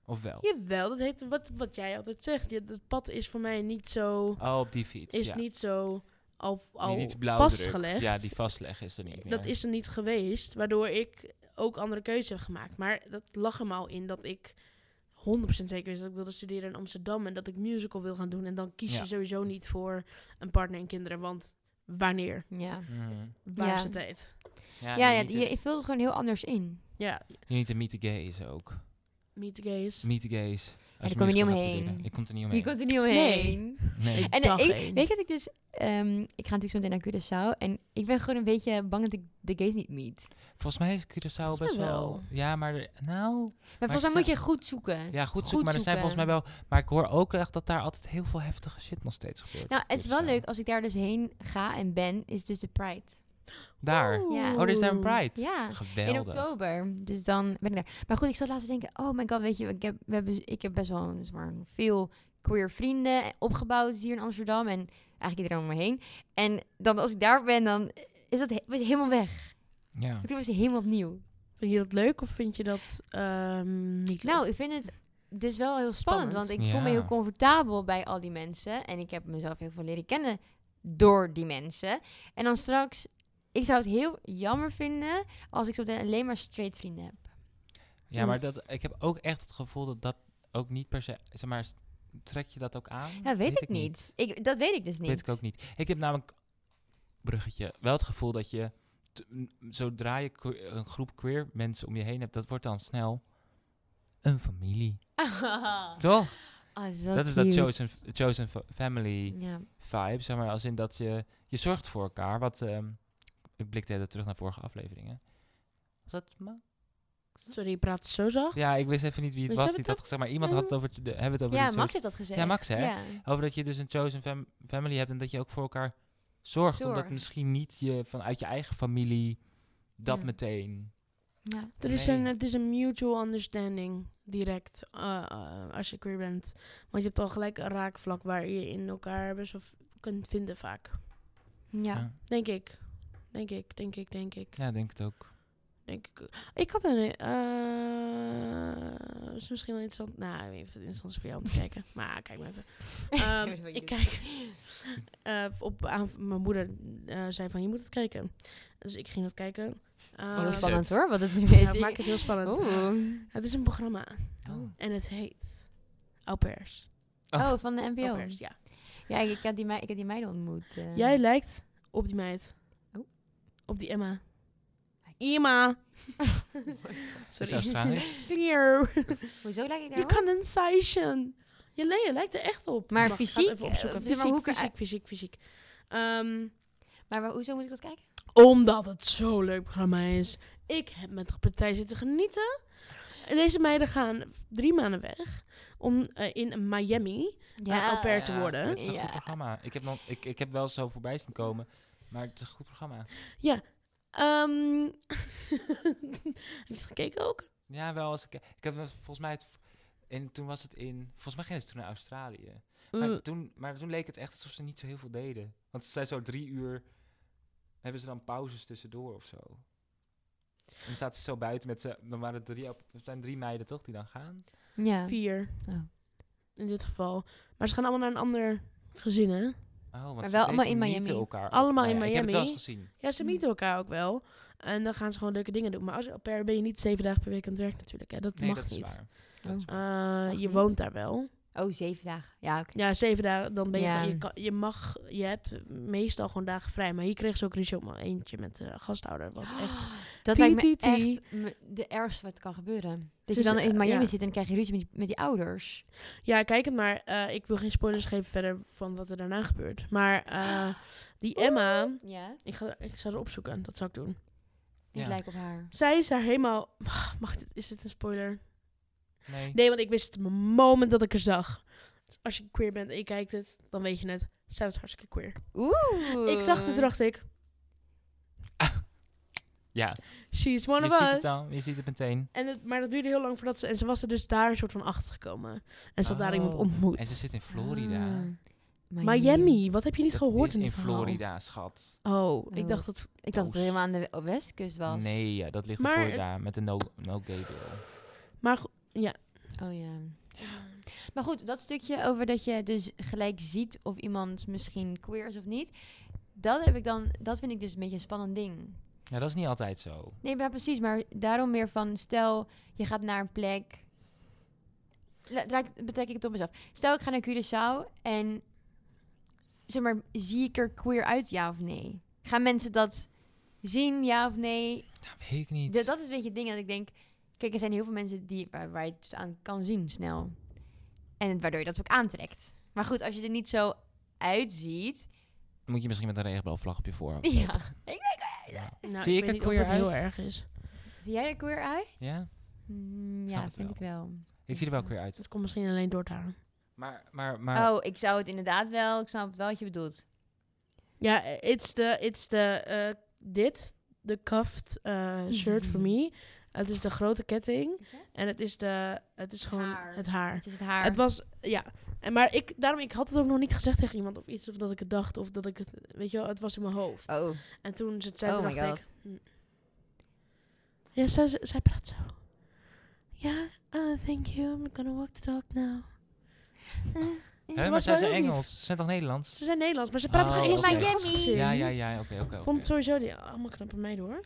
Speaker 1: Of wel?
Speaker 4: Jawel, dat heet wat, wat jij altijd zegt. Je, dat pad is voor mij niet zo...
Speaker 1: Oh, op die fiets.
Speaker 4: Is
Speaker 1: ja.
Speaker 4: niet zo al, al
Speaker 1: Niet iets blauwdruk.
Speaker 4: vastgelegd.
Speaker 1: Ja, die vastleggen is er niet.
Speaker 4: Dat
Speaker 1: meer.
Speaker 4: is er niet geweest, waardoor ik ook andere keuzes heb gemaakt. Maar dat lag hem al in dat ik 100% zeker wist dat ik wilde studeren in Amsterdam en dat ik musical wil gaan doen. En dan kies
Speaker 1: Ja.
Speaker 4: je sowieso niet voor een partner en kinderen, want wanneer?
Speaker 2: Ja,
Speaker 1: Mhm.
Speaker 4: Waar
Speaker 2: Ja.
Speaker 4: is de tijd?
Speaker 1: Ja,
Speaker 2: ja,
Speaker 1: ja,
Speaker 2: ja
Speaker 1: je,
Speaker 2: je, je vult het gewoon heel anders in.
Speaker 4: Ja,
Speaker 1: niet te meet the gays ook.
Speaker 4: meet the gays.
Speaker 1: Meet the gays. Als
Speaker 2: daar kom
Speaker 1: musical
Speaker 2: je
Speaker 1: gaat
Speaker 2: niet omheen.
Speaker 1: studeren. Ik kom er niet
Speaker 2: Je
Speaker 1: omheen.
Speaker 2: komt er niet omheen.
Speaker 1: Nee.
Speaker 2: En
Speaker 4: Dag
Speaker 2: eh, ik,
Speaker 4: één.
Speaker 2: weet je dat ik dus... ehm, ik ga natuurlijk zo meteen naar Curaçao. En ik ben gewoon een beetje bang dat ik de gays niet meet.
Speaker 1: Volgens mij is Curaçao best wel...
Speaker 4: Jawel.
Speaker 1: Ja, maar er- nou...
Speaker 2: Maar, volgens
Speaker 1: ze-
Speaker 2: mij moet je goed zoeken.
Speaker 1: Ja, goed zoeken.
Speaker 2: Goed
Speaker 1: maar er zijn volgens mij
Speaker 2: zoeken.
Speaker 1: wel... Maar ik hoor ook echt dat daar altijd heel veel heftige shit nog steeds gebeurt.
Speaker 2: Nou,
Speaker 1: op
Speaker 2: het is wel
Speaker 1: Curaçao.
Speaker 2: leuk als ik daar dus heen ga en ben, is dus de Pride.
Speaker 1: Daar.
Speaker 2: Ja.
Speaker 1: Oh, er is daar een Pride.
Speaker 2: Ja,
Speaker 1: Geweldig.
Speaker 2: In oktober. Dus dan ben ik daar. Maar goed, ik zat laatst te denken. Oh mijn god, weet je, ik heb, we hebben, ik heb best wel een- zeg maar, veel queer vrienden opgebouwd hier in Amsterdam. En eigenlijk iedereen om me heen. En dan als ik daar ben, dan is dat he- was helemaal weg.
Speaker 1: Ja.
Speaker 2: Toen was het helemaal opnieuw.
Speaker 4: Vind je dat leuk of vind je dat ehm, niet leuk?
Speaker 2: Nou, ik vind het dus wel heel spannend.
Speaker 4: Spannend.
Speaker 2: Want ik voel me
Speaker 1: Ja.
Speaker 2: heel comfortabel bij al die mensen. En ik heb mezelf heel veel leren kennen door die mensen. En dan straks... Ik zou het heel jammer vinden als ik zo meteen alleen maar straight vrienden heb.
Speaker 1: ja, maar dat, ik heb ook echt het gevoel dat dat ook niet per se... Zeg maar, s- trek je dat ook aan?
Speaker 2: Ja, weet ik niet. Ik, dat weet ik dus niet.
Speaker 1: Weet ik ook niet. Ik heb namelijk, bruggetje, wel het gevoel dat je, t- m- zodra je que- een groep queer mensen om je heen hebt, dat wordt dan snel een familie. Toch?
Speaker 2: Oh, dat is
Speaker 1: Dat is dat chosen, chosen fa- family
Speaker 2: Ja.
Speaker 1: vibe, zeg maar, als in dat je, je zorgt voor elkaar. Wat, ehm, ik blikte even terug naar vorige afleveringen. Was dat Ma?
Speaker 4: Sorry, je praat zo zacht.
Speaker 1: Ja, ik wist even niet wie het
Speaker 4: Weet
Speaker 1: was
Speaker 4: jij
Speaker 1: die
Speaker 4: dat
Speaker 1: dat gezegd, maar iemand had het over, de, hebben het over
Speaker 2: ja,
Speaker 1: de chosen-
Speaker 2: Max heeft dat gezegd.
Speaker 1: Ja, Max, hè?
Speaker 2: Ja.
Speaker 1: Over dat je dus een chosen fam- family hebt en dat je ook voor elkaar zorgt. Omdat
Speaker 2: Zorgt.
Speaker 1: misschien niet je vanuit je eigen familie dat
Speaker 2: Ja.
Speaker 1: meteen.
Speaker 2: Ja.
Speaker 4: Er is
Speaker 1: Nee.
Speaker 4: een, het is een mutual understanding direct eh, eh, als je queer bent. Want je hebt al gelijk een raakvlak waar je in elkaar best wel v- kunt vinden vaak.
Speaker 2: Ja.
Speaker 1: Ja.
Speaker 4: Denk ik. Denk ik, denk ik, denk ik.
Speaker 1: Ja, denk het ook.
Speaker 4: Denk ik. ik had een... eh is misschien wel interessant. Nou, ik weet niet of het interessant is voor jou om te kijken. Maar kijk maar even. Ehm,
Speaker 2: Ik weet wat je
Speaker 4: ik
Speaker 2: doet.
Speaker 4: kijk. eh, op, aan, mijn moeder eh, zei van, je moet het kijken. Dus ik ging dat kijken.
Speaker 2: Oh,
Speaker 4: Ehm,
Speaker 2: spannend
Speaker 1: Zet.
Speaker 2: hoor, wat het nu
Speaker 4: ja,
Speaker 2: is.
Speaker 4: het maakt het heel spannend.
Speaker 2: Oeh.
Speaker 4: Het is een programma.
Speaker 1: Oh.
Speaker 4: En het heet Au pairs.
Speaker 1: Oh.
Speaker 2: Oh, van de
Speaker 4: Au
Speaker 2: NPO.
Speaker 4: pairs, ja.
Speaker 2: Ja, ik, ik, had die mei- ik had die meiden ontmoet. eh.
Speaker 4: Jij lijkt op die meid.
Speaker 2: Oh.
Speaker 4: Op die Emma. Emma.
Speaker 1: Is
Speaker 4: Sorry.
Speaker 1: Australisch?
Speaker 4: Clear.
Speaker 2: Hoezo lijk ik
Speaker 4: You
Speaker 2: daarop?
Speaker 4: can sensation. Je, nee, je lijkt er echt op.
Speaker 2: Maar
Speaker 4: ik ga het
Speaker 2: fysiek,
Speaker 4: even opzoeken.
Speaker 2: eh,
Speaker 4: fysiek,
Speaker 2: maar hoe kan-
Speaker 4: fysiek, fysiek, fysiek. Ehm,
Speaker 2: Maar waar- hoezo moet ik dat kijken?
Speaker 4: omdat het zo'n leuk programma is. Ik heb met de partij zitten genieten. En deze meiden gaan drie maanden weg. Om eh, in Miami. Ja, au pair te worden.
Speaker 1: Het is een
Speaker 2: Ja.
Speaker 1: goed programma. Ik heb, nog, ik, ik heb wel zo voorbij zien komen, maar het is een goed programma.
Speaker 4: Ehm, heb je het gekeken ook?
Speaker 1: Ja, wel als ik. Ik heb wel volgens mij het. En toen was het in. Volgens mij ging het toen naar Australië.
Speaker 4: Eh,
Speaker 1: Maar, toen, maar toen leek het echt alsof ze niet zo heel veel deden. Want ze zijn zo drie uur. Hebben ze dan pauzes tussendoor of zo? En dan zaten ze zo buiten met ze. Dan waren het drie, er zijn drie meiden toch die dan gaan?
Speaker 2: Ja.
Speaker 4: Eh, Vier.
Speaker 2: Oh.
Speaker 4: In dit geval. Maar ze gaan allemaal naar een ander gezin, hè?
Speaker 1: Oh, want
Speaker 2: Maar
Speaker 1: ze-
Speaker 2: wel
Speaker 1: deze
Speaker 2: allemaal in
Speaker 1: mieten
Speaker 2: Miami.
Speaker 1: Elkaar ook.
Speaker 4: Allemaal
Speaker 1: Nou
Speaker 4: in
Speaker 1: ja, Ik heb het wel eens
Speaker 4: Miami.
Speaker 1: gezien.
Speaker 4: Ja,
Speaker 2: Mm.
Speaker 4: ze
Speaker 1: Hmm.
Speaker 4: mieten elkaar ook wel. En dan gaan ze gewoon leuke dingen doen. Maar als au pair ben je niet zeven dagen per week aan het werk natuurlijk, hè? Dat
Speaker 1: Nee,
Speaker 4: mag
Speaker 1: dat is
Speaker 4: niet.
Speaker 1: waar. Dat is
Speaker 2: Oh.
Speaker 1: waar.
Speaker 4: Eh,
Speaker 2: Mag
Speaker 4: je
Speaker 2: niet.
Speaker 4: woont daar wel.
Speaker 2: Oh, zeven dagen. Ja, oké.
Speaker 4: Ja, zeven dagen, dan ben je...
Speaker 2: Ja.
Speaker 4: gewoon- Je, kan- je mag... Je hebt meestal gewoon dagen vrij. Maar hier kreeg ze ook ruzie om
Speaker 1: Ah.
Speaker 4: eentje met de gasthouder. was echt...
Speaker 2: Dat
Speaker 4: Tee,
Speaker 2: lijkt me
Speaker 4: tee, tee.
Speaker 2: echt me- de ergste wat kan gebeuren. Dat
Speaker 4: Dus,
Speaker 2: je dan in
Speaker 4: eh,
Speaker 2: Miami
Speaker 4: ja.
Speaker 2: zit en dan krijg je ruzie met die, met die ouders.
Speaker 4: Ja, kijk het maar. Eh, ik wil geen spoilers geven verder van wat er daarna gebeurt. Maar eh, die Emma,
Speaker 2: Ja.
Speaker 4: ik, ga, ik zou ze opzoeken. Dat zou ik doen.
Speaker 2: Niet
Speaker 1: Ja.
Speaker 2: lijkt op haar.
Speaker 4: Zij is daar helemaal... Mag, mag dit, is dit een spoiler?
Speaker 1: Nee.
Speaker 4: Nee, want ik wist het op het moment dat ik er zag. Dus als je queer bent en je kijkt het, dan weet je het. Zij was hartstikke queer.
Speaker 2: Oeh.
Speaker 4: Ik zag het, toen dacht ik,
Speaker 1: Ja,
Speaker 4: she's one
Speaker 1: je
Speaker 4: of
Speaker 1: ziet
Speaker 4: us.
Speaker 1: het al, je ziet het meteen.
Speaker 4: En het, maar dat duurde heel lang voordat ze... En ze was er dus daar een soort van achter gekomen. En ze had daar
Speaker 1: Oh.
Speaker 4: iemand ontmoet.
Speaker 1: En ze zit in Florida.
Speaker 2: Ah,
Speaker 4: Miami, wat heb je niet
Speaker 1: Dat
Speaker 4: gehoord
Speaker 1: is
Speaker 4: in,
Speaker 1: in,
Speaker 4: het verhaal?
Speaker 1: Florida, schat.
Speaker 4: Oh, ik
Speaker 2: Oh.
Speaker 4: dacht dat...
Speaker 2: Ik dacht dat het
Speaker 1: Oost.
Speaker 2: helemaal aan de we- westkust was.
Speaker 1: Nee, ja, dat ligt in
Speaker 4: Maar het-
Speaker 1: Florida met een no-gay no gay bill.
Speaker 4: Maar go-
Speaker 2: Oh ja. Maar goed, dat stukje over dat je dus gelijk ziet of iemand misschien queer is of niet. Dat, heb ik dan, dat vind ik dus een beetje een spannend ding.
Speaker 1: Ja, dat is niet altijd zo.
Speaker 2: Nee, maar precies. Maar daarom meer van, stel je gaat naar een plek. La- draai- Betrek ik het op mezelf. Stel ik ga naar Curaçao en zeg maar, zie ik er queer uit, ja of nee? Gaan mensen dat zien, ja of nee?
Speaker 1: Dat weet ik niet.
Speaker 2: Da- dat is een beetje het ding dat ik denk... Kijk, er zijn heel veel mensen die, waar, waar je het dus aan kan zien snel. En waardoor je dat ook aantrekt. Maar goed, als je er niet zo uitziet...
Speaker 1: Moet je misschien met een regenboogvlag op je voorhoofd.
Speaker 2: Ja.
Speaker 4: nou,
Speaker 1: Zie ik er
Speaker 4: ik, weet niet of
Speaker 1: queer
Speaker 4: dat heel
Speaker 1: uit?
Speaker 4: erg is.
Speaker 2: Zie jij er queer uit?
Speaker 1: Ja?
Speaker 2: Mm,
Speaker 1: snap
Speaker 2: ja,
Speaker 1: het
Speaker 2: vind
Speaker 1: wel.
Speaker 2: ik wel.
Speaker 1: Ik zie er wel weer uit.
Speaker 4: Dus Dat komt misschien alleen door het haar.
Speaker 1: Maar, maar, maar...
Speaker 2: Oh, ik zou het inderdaad wel... Ik snap wel wat je bedoelt.
Speaker 4: Ja, eh, it's the, it's the, eh, dit, de cuffed eh, shirt voor me. Het is de grote ketting. En het is, de, het is gewoon
Speaker 2: Haar.
Speaker 4: het haar.
Speaker 2: Het is het haar.
Speaker 4: Het was, ja. En, maar ik, daarom, ik had het ook nog niet gezegd tegen iemand of iets. Of dat ik het dacht. Of dat ik het, weet je wel, het was in mijn hoofd.
Speaker 2: oh,
Speaker 4: En toen ze het zei,
Speaker 2: oh
Speaker 4: toen
Speaker 2: my
Speaker 4: dacht
Speaker 2: god.
Speaker 4: ik... Ja, zij, zij- zij praat zo. Ja, eh, thank you. I'm gonna walk the dog now. Eh, eh,
Speaker 1: Hè, maar
Speaker 4: was
Speaker 1: zijn
Speaker 4: wel
Speaker 1: ze
Speaker 4: heel lief.
Speaker 1: Engels? Ze zijn toch Nederlands?
Speaker 4: Ze zijn Nederlands, maar ze praten
Speaker 1: Oh,
Speaker 4: toch Engels
Speaker 1: oké.
Speaker 4: tegen ons
Speaker 2: Miami.
Speaker 4: gezin?
Speaker 1: Ja, ja, ja, oké, oké. oké.
Speaker 4: Vond sowieso die allemaal knappe meiden hoor.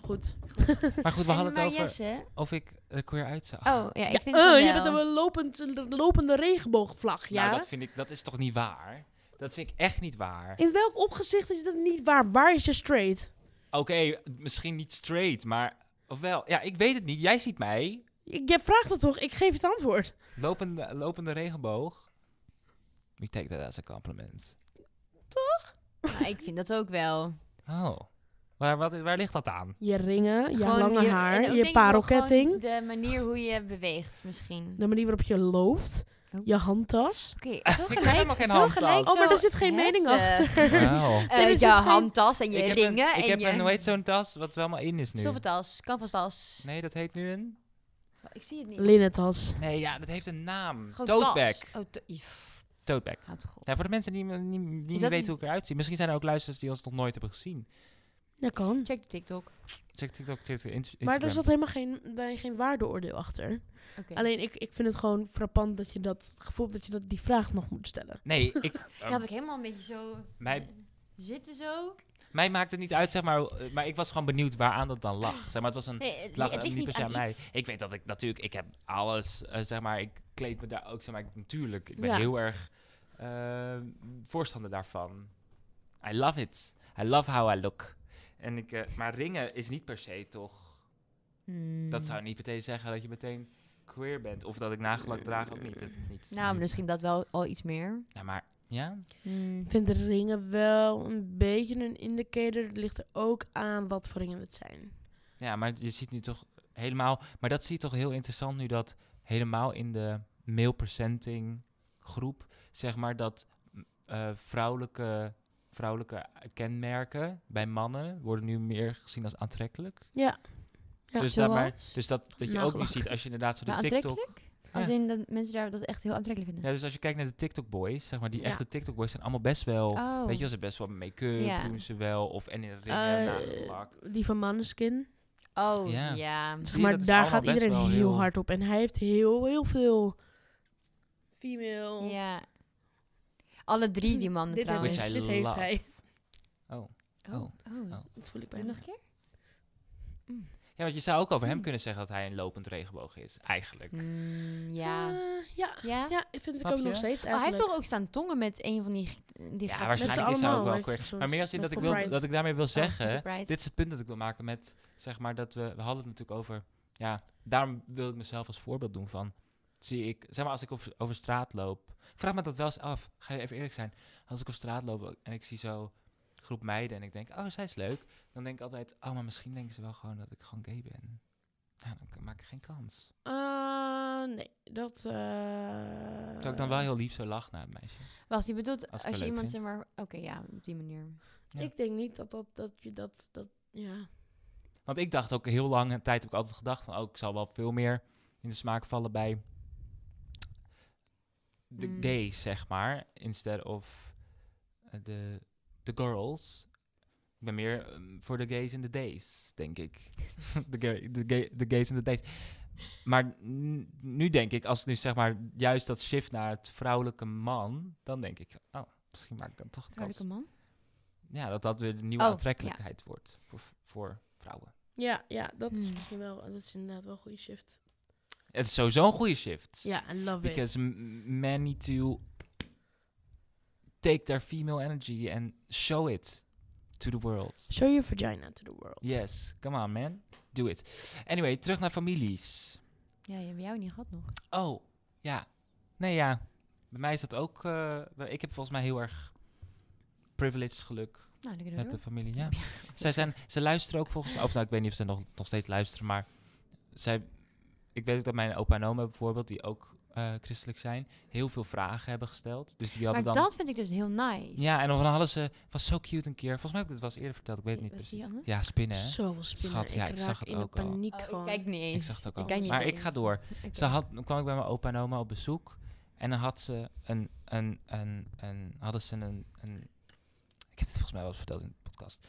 Speaker 4: Goed.
Speaker 1: Maar goed, we
Speaker 2: En
Speaker 1: hadden het
Speaker 2: maar
Speaker 1: over Ah.
Speaker 2: Jesse?
Speaker 1: of ik er queer uitzag. Nou,
Speaker 2: Oh, ja, ik
Speaker 4: Ja,
Speaker 2: vind het
Speaker 4: eh, je
Speaker 2: wel.
Speaker 4: bent een lopend, een lopende regenboogvlag, ja?
Speaker 1: Nou, dat vind ik, dat is toch niet waar? Dat vind ik echt niet waar.
Speaker 4: In welk opgezicht is dat niet waar? Waar is je straight?
Speaker 1: Oké, misschien niet straight, maar... Of wel? Ja, ik weet het niet. Jij ziet mij.
Speaker 4: Je je vraagt het toch? Ik geef het antwoord.
Speaker 1: Lopende, lopende regenboog. We take that as a compliment.
Speaker 2: Nou, ik vind dat ook wel.
Speaker 1: Oh. Waar, wat, waar ligt dat aan?
Speaker 4: Je ringen, je
Speaker 2: Gewoon
Speaker 4: lange
Speaker 2: je- en ook
Speaker 4: haar,
Speaker 2: denk
Speaker 4: je
Speaker 2: ik wel
Speaker 4: parelketting,
Speaker 2: gewoon De manier hoe je beweegt misschien.
Speaker 4: de manier waarop je loopt,
Speaker 2: Oh.
Speaker 4: je handtas.
Speaker 2: Oké, zo
Speaker 1: heb
Speaker 2: gelijk.
Speaker 1: helemaal geen
Speaker 2: zo
Speaker 1: handtas.
Speaker 2: gelijk
Speaker 4: Oh, maar
Speaker 2: zo
Speaker 4: er zit geen mening
Speaker 2: heftig.
Speaker 4: achter.
Speaker 1: Wow.
Speaker 2: Eh,
Speaker 4: Er
Speaker 2: je
Speaker 4: is dus geen-
Speaker 2: handtas en je
Speaker 1: ik heb
Speaker 2: ringen
Speaker 1: Een, ik
Speaker 2: en
Speaker 1: heb
Speaker 2: je
Speaker 1: een, hoe heet zo'n tas? Wat wel maar in is nu.
Speaker 2: stoffeltas, canvastas.
Speaker 1: Nee, dat heet nu een...
Speaker 2: Oh, ik zie het niet.
Speaker 4: Linnentas.
Speaker 1: Nee, ja, dat heeft een naam.
Speaker 2: Gewoon
Speaker 1: Tote
Speaker 2: tas.
Speaker 1: bag.
Speaker 2: Oh, to- Ief,
Speaker 1: Tote bag.
Speaker 2: gaat toch op.
Speaker 1: Ja, voor de mensen die, me- die, die niet
Speaker 2: dat
Speaker 1: weten
Speaker 2: een-
Speaker 1: hoe ik eruit zie. Misschien zijn er ook luisteraars die ons nog nooit hebben gezien.
Speaker 4: Dat kan.
Speaker 2: Check de TikTok.
Speaker 1: Check TikTok, TikTok, Inst-
Speaker 4: Maar
Speaker 1: Instagram.
Speaker 4: er zat helemaal geen, bij geen waardeoordeel achter.
Speaker 2: Oké.
Speaker 4: Alleen ik, ik vind het gewoon frappant dat je dat het gevoel hebt dat je dat, die vraag nog moet stellen.
Speaker 1: Nee, ik,
Speaker 2: Dan
Speaker 1: ehm,
Speaker 2: had ik helemaal een beetje zo eh,
Speaker 1: mij,
Speaker 2: zitten zo.
Speaker 1: mij maakt het niet uit, zeg maar. eh, Maar ik was gewoon benieuwd waaraan dat dan lag. Zeg maar, het was een...
Speaker 2: Nee, het,
Speaker 1: Het lag
Speaker 2: het
Speaker 1: niet
Speaker 2: ligt
Speaker 1: per
Speaker 2: niet
Speaker 1: se aan mij.
Speaker 2: iets.
Speaker 1: Ik weet dat ik natuurlijk, ik heb alles, eh, zeg maar, ik kleed me daar ook, zeg maar, ik- natuurlijk. Ik ben
Speaker 4: Ja.
Speaker 1: heel erg eh, voorstander daarvan. I love it. I love how I look. En ik, eh, maar ringen is niet per se toch.
Speaker 2: Hmm.
Speaker 1: Dat zou niet meteen zeggen dat je meteen queer bent. Of dat ik nagelak draag of niet. Dat, niet
Speaker 2: Nou, misschien dat wel al iets meer.
Speaker 1: Ja, maar, ja?
Speaker 2: Hmm.
Speaker 4: Ik vind de ringen wel een beetje een indicator. Het ligt er ook aan wat voor ringen het zijn.
Speaker 1: Ja, maar je ziet nu toch helemaal... Maar dat zie je toch heel interessant nu dat helemaal in de male presenting groep... zeg maar dat m, eh, vrouwelijke, vrouwelijke kenmerken bij mannen... worden nu meer gezien als aantrekkelijk.
Speaker 4: Ja. Ja,
Speaker 1: dus, dat, maar,
Speaker 2: zoals?
Speaker 1: dus dat, dat je ook nu
Speaker 4: Nagelak.
Speaker 1: ziet als je inderdaad zo de
Speaker 2: Maar
Speaker 1: TikTok... Ah.
Speaker 2: aantrekkelijk? Als in dat mensen daar dat echt heel aantrekkelijk vinden.
Speaker 1: Ja, dus als je kijkt naar de TikTok boys, zeg maar, die
Speaker 4: Ja.
Speaker 1: echte TikTok boys zijn allemaal best wel...
Speaker 2: Oh.
Speaker 1: Weet je, wel, ze best wel make-up
Speaker 2: Ja.
Speaker 1: doen ze wel. Of en in de ringen,
Speaker 4: Eh,
Speaker 1: nagelak.
Speaker 4: die van Maneskin.
Speaker 2: Oh,
Speaker 1: Ja.
Speaker 2: ja.
Speaker 1: Zie je,
Speaker 4: Maar
Speaker 1: dat is
Speaker 4: daar
Speaker 1: allemaal
Speaker 4: gaat
Speaker 1: best
Speaker 4: iedereen
Speaker 1: wel
Speaker 4: heel, hard op. En hij heeft heel, heel veel female...
Speaker 2: Ja. Alle drie die mannen
Speaker 4: dit
Speaker 2: trouwens.
Speaker 1: Which
Speaker 4: Heeft,
Speaker 1: I
Speaker 4: dit heeft
Speaker 1: love.
Speaker 4: hij.
Speaker 1: Oh.
Speaker 2: Oh,
Speaker 1: Oh.
Speaker 2: oh.
Speaker 1: Oh.
Speaker 4: Dat voel
Speaker 2: Doe
Speaker 4: ik bij
Speaker 2: het nog
Speaker 4: hem.
Speaker 2: een keer?
Speaker 1: Ja, want je zou ook over hem
Speaker 2: Hmm.
Speaker 1: kunnen zeggen dat hij een lopend regenboog is, eigenlijk.
Speaker 2: Mm,
Speaker 1: Ah.
Speaker 2: ja.
Speaker 4: Eh, ja.
Speaker 2: Ja?
Speaker 4: Ja, ik vind het
Speaker 1: Snap
Speaker 4: ook nog
Speaker 1: je?
Speaker 4: steeds
Speaker 2: Oh, hij heeft
Speaker 4: eigenlijk.
Speaker 2: toch ook staan tongen met een van die... g- die
Speaker 1: Ja,
Speaker 2: grap-
Speaker 1: waarschijnlijk is hij ook
Speaker 4: allemaal,
Speaker 1: wel
Speaker 4: maar-
Speaker 1: queer. Maar meer als in
Speaker 4: met
Speaker 1: dat ik,
Speaker 4: Full
Speaker 1: wil,
Speaker 4: Pride.
Speaker 1: dat ik daarmee wil
Speaker 2: Oh,
Speaker 1: zeggen...
Speaker 2: Pride.
Speaker 1: Dit is het punt dat ik wil maken met, zeg maar, dat we... We hadden het natuurlijk over ja, daarom wil ik mezelf als voorbeeld doen van, zie ik, zeg maar als ik over, over straat loop, ik vraag me dat wel eens af, ga je even eerlijk zijn, als ik op straat loop en ik zie zo een groep meiden en ik denk, oh, zij is leuk, dan denk ik altijd, oh, maar misschien denken ze wel gewoon dat ik gewoon gay ben. Ja, dan k- maak ik geen kans.
Speaker 4: Eh, nee, dat... eh,
Speaker 1: Terwijl ik dan wel heel lief zo lach naar het meisje.
Speaker 2: Was die bedoeld
Speaker 1: Als
Speaker 2: als,
Speaker 1: ik
Speaker 2: je
Speaker 1: haar leuk
Speaker 2: iemand zeg
Speaker 1: vind.
Speaker 2: maar... Oké, ja, op die manier.
Speaker 1: Ja.
Speaker 4: Ik denk niet dat dat, dat je dat, dat... Ja.
Speaker 1: Want ik dacht ook heel lang, een tijd heb ik altijd gedacht van, oh, ik zal wel veel meer in de smaak vallen bij de
Speaker 2: Mm.
Speaker 1: gays, zeg maar, instead of eh, de de girls. Ik ben meer ehm, voor de gays en de days, denk ik. De gay- de gay- de gays en de days. Maar n- nu denk ik, als nu zeg maar juist dat shift naar het vrouwelijke man, dan denk ik, oh, misschien maak ik dan toch kans.
Speaker 2: Vrouwelijke man?
Speaker 1: Ja, dat dat weer de nieuwe
Speaker 2: Oh, ja.
Speaker 1: aantrekkelijkheid wordt voor, voor vrouwen.
Speaker 4: Ja, ja, dat is
Speaker 2: Hmm.
Speaker 4: misschien wel... Dat is inderdaad wel een goede shift.
Speaker 1: Het is sowieso een goede shift.
Speaker 4: Ja, I love it.
Speaker 1: Because m- men need to take their female energy and show it to the world.
Speaker 4: Show your vagina to the world.
Speaker 1: Yes, come on man, do it. Anyway, terug naar families.
Speaker 2: Ja, je hebt jou niet gehad nog.
Speaker 1: Oh, ja. Nee, ja. Bij mij is dat ook... eh, bij- ik heb volgens mij heel erg privileged geluk
Speaker 2: Nou, dan kunnen
Speaker 1: met
Speaker 2: we
Speaker 1: de
Speaker 2: door.
Speaker 1: familie, ja. Zij zijn, ze luisteren ook volgens mij... Of nou, ik weet niet of ze nog, nog steeds luisteren, maar... Zij, ik weet ook dat mijn opa en oma bijvoorbeeld, die ook eh, christelijk zijn... heel veel vragen hebben gesteld. Dus die
Speaker 2: Maar
Speaker 1: hadden dan...
Speaker 2: dat vind ik dus heel nice.
Speaker 1: Ja, en dan hadden ze... was zo cute een keer. Volgens mij heb ik het wel eens eerder verteld. Ik weet het
Speaker 2: Zie-
Speaker 1: niet
Speaker 2: was die
Speaker 1: precies.
Speaker 2: Anne?
Speaker 1: Ja, spinnen, hè?
Speaker 4: Zo wel spinnen.
Speaker 1: Schat, ja, ik
Speaker 4: raak
Speaker 1: zag het
Speaker 4: in de
Speaker 1: ook al.
Speaker 4: paniek
Speaker 2: Oh,
Speaker 4: gewoon.
Speaker 2: ik kijk niet eens.
Speaker 1: Ik zag het ook al.
Speaker 2: kijk niet
Speaker 1: maar ik
Speaker 2: eens.
Speaker 1: ga door.
Speaker 2: Oké.
Speaker 1: Ze had, dan kwam ik bij mijn opa en oma op bezoek. En dan had ze een, een, een, een, hadden ze een, een... Ik heb het volgens mij wel eens verteld in de podcast.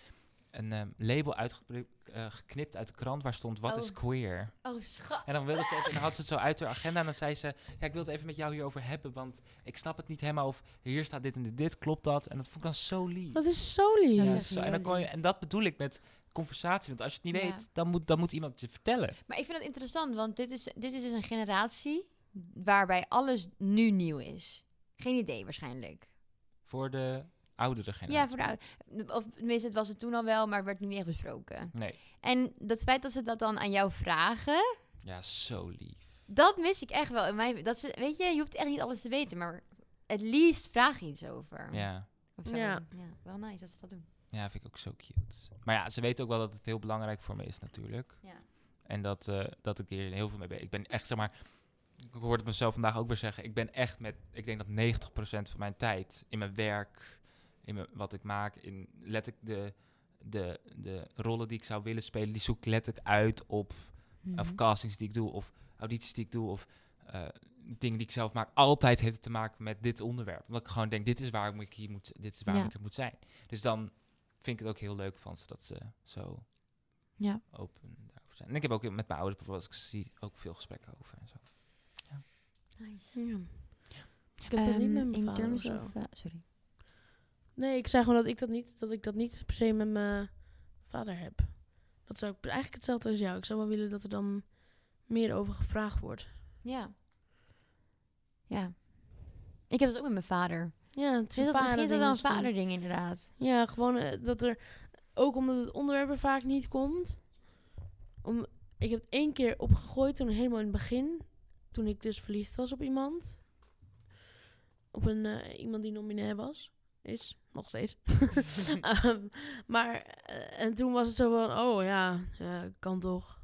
Speaker 1: Een ehm, label uitgepri- eh, geknipt uit de krant waar stond... Wat is
Speaker 2: Oh.
Speaker 1: queer?
Speaker 2: Oh, schat.
Speaker 1: En dan, wilde ze het, en dan had ze het zo uit haar agenda. En dan zei ze... Ja, ik wil het even met jou hierover hebben. Want ik snap het niet helemaal. Of hier staat dit en dit, dit. Klopt dat? En dat vond ik dan zo lief.
Speaker 4: Dat is zo lief.
Speaker 1: Ja,
Speaker 2: Ja, dat
Speaker 1: dat
Speaker 2: is
Speaker 1: is zo. En,
Speaker 2: heel
Speaker 1: dan kon je,
Speaker 2: lief.
Speaker 1: en dat bedoel ik met conversatie. Want als je het niet
Speaker 2: Ja.
Speaker 1: weet, dan moet, dan moet iemand het je vertellen.
Speaker 2: Maar ik vind dat interessant, want dit is, dit is dus een generatie waarbij alles nu nieuw is. Geen idee waarschijnlijk.
Speaker 1: Voor de oudere generatie.
Speaker 2: Ja, voor de oude- Of tenminste, het was het toen al wel, maar werd nu niet echt besproken.
Speaker 1: Nee.
Speaker 2: En dat feit dat ze dat dan aan jou vragen,
Speaker 1: Ja, zo lief.
Speaker 2: dat mis ik echt wel. In mijn, dat ze, weet je, je hoeft echt niet alles te weten, maar at least vraag iets over.
Speaker 1: Ja.
Speaker 2: Of zo.
Speaker 4: Ja.
Speaker 2: Ja. wel nice dat ze dat doen.
Speaker 1: ja, vind ik ook zo cute. Maar ja, ze weten ook wel dat het heel belangrijk voor me is natuurlijk.
Speaker 2: Ja.
Speaker 1: En dat, eh, dat ik hier heel veel mee ben. Ik ben echt, zeg maar, ik hoorde het mezelf vandaag ook weer zeggen. Ik ben echt met, ik denk dat 90% van mijn tijd in mijn werk, in mijn, wat ik maak, in let ik de, de, de rollen die ik zou willen spelen, die zoek ik letterlijk uit op
Speaker 2: Mhm.
Speaker 1: of castings die ik doe, of audities die ik doe, of eh, dingen die ik zelf maak, altijd heeft het te maken met dit onderwerp. Omdat ik gewoon denk, dit is waar ik, moet- hier moet, dit is waar
Speaker 2: Ja.
Speaker 1: ik er moet zijn. Dus dan vind ik het ook heel leuk van ze dat ze zo
Speaker 2: Ja.
Speaker 1: open daarover zijn. En ik heb ook met mijn ouders bijvoorbeeld, als ik ze zie, ook veel gesprekken over en zo.
Speaker 2: Nice.
Speaker 4: Ja. Ik heb dat niet met mijn
Speaker 2: ehm, in
Speaker 4: vader of
Speaker 2: terms
Speaker 4: zo.
Speaker 2: of, eh, sorry.
Speaker 4: Nee, ik zei gewoon dat ik dat niet, dat ik dat niet per se met mijn vader heb. Dat zou ik eigenlijk hetzelfde als jou. Ik zou wel willen dat er dan meer over gevraagd wordt.
Speaker 2: Ja. Ja. Ik heb dat ook met mijn vader.
Speaker 4: Ja, het
Speaker 2: Is dat, misschien is dat
Speaker 4: vaderding
Speaker 2: wel een
Speaker 4: misschien.
Speaker 2: vaderding inderdaad.
Speaker 4: Ja, gewoon eh, dat er ook omdat het onderwerp er vaak niet komt. Om, ik heb het één keer opgegooid toen helemaal in het begin, toen ik dus verliefd was op iemand, op een eh, iemand die nominee was, is nog steeds. Ehm, maar eh, en toen was het zo van, oh ja, ja, kan toch.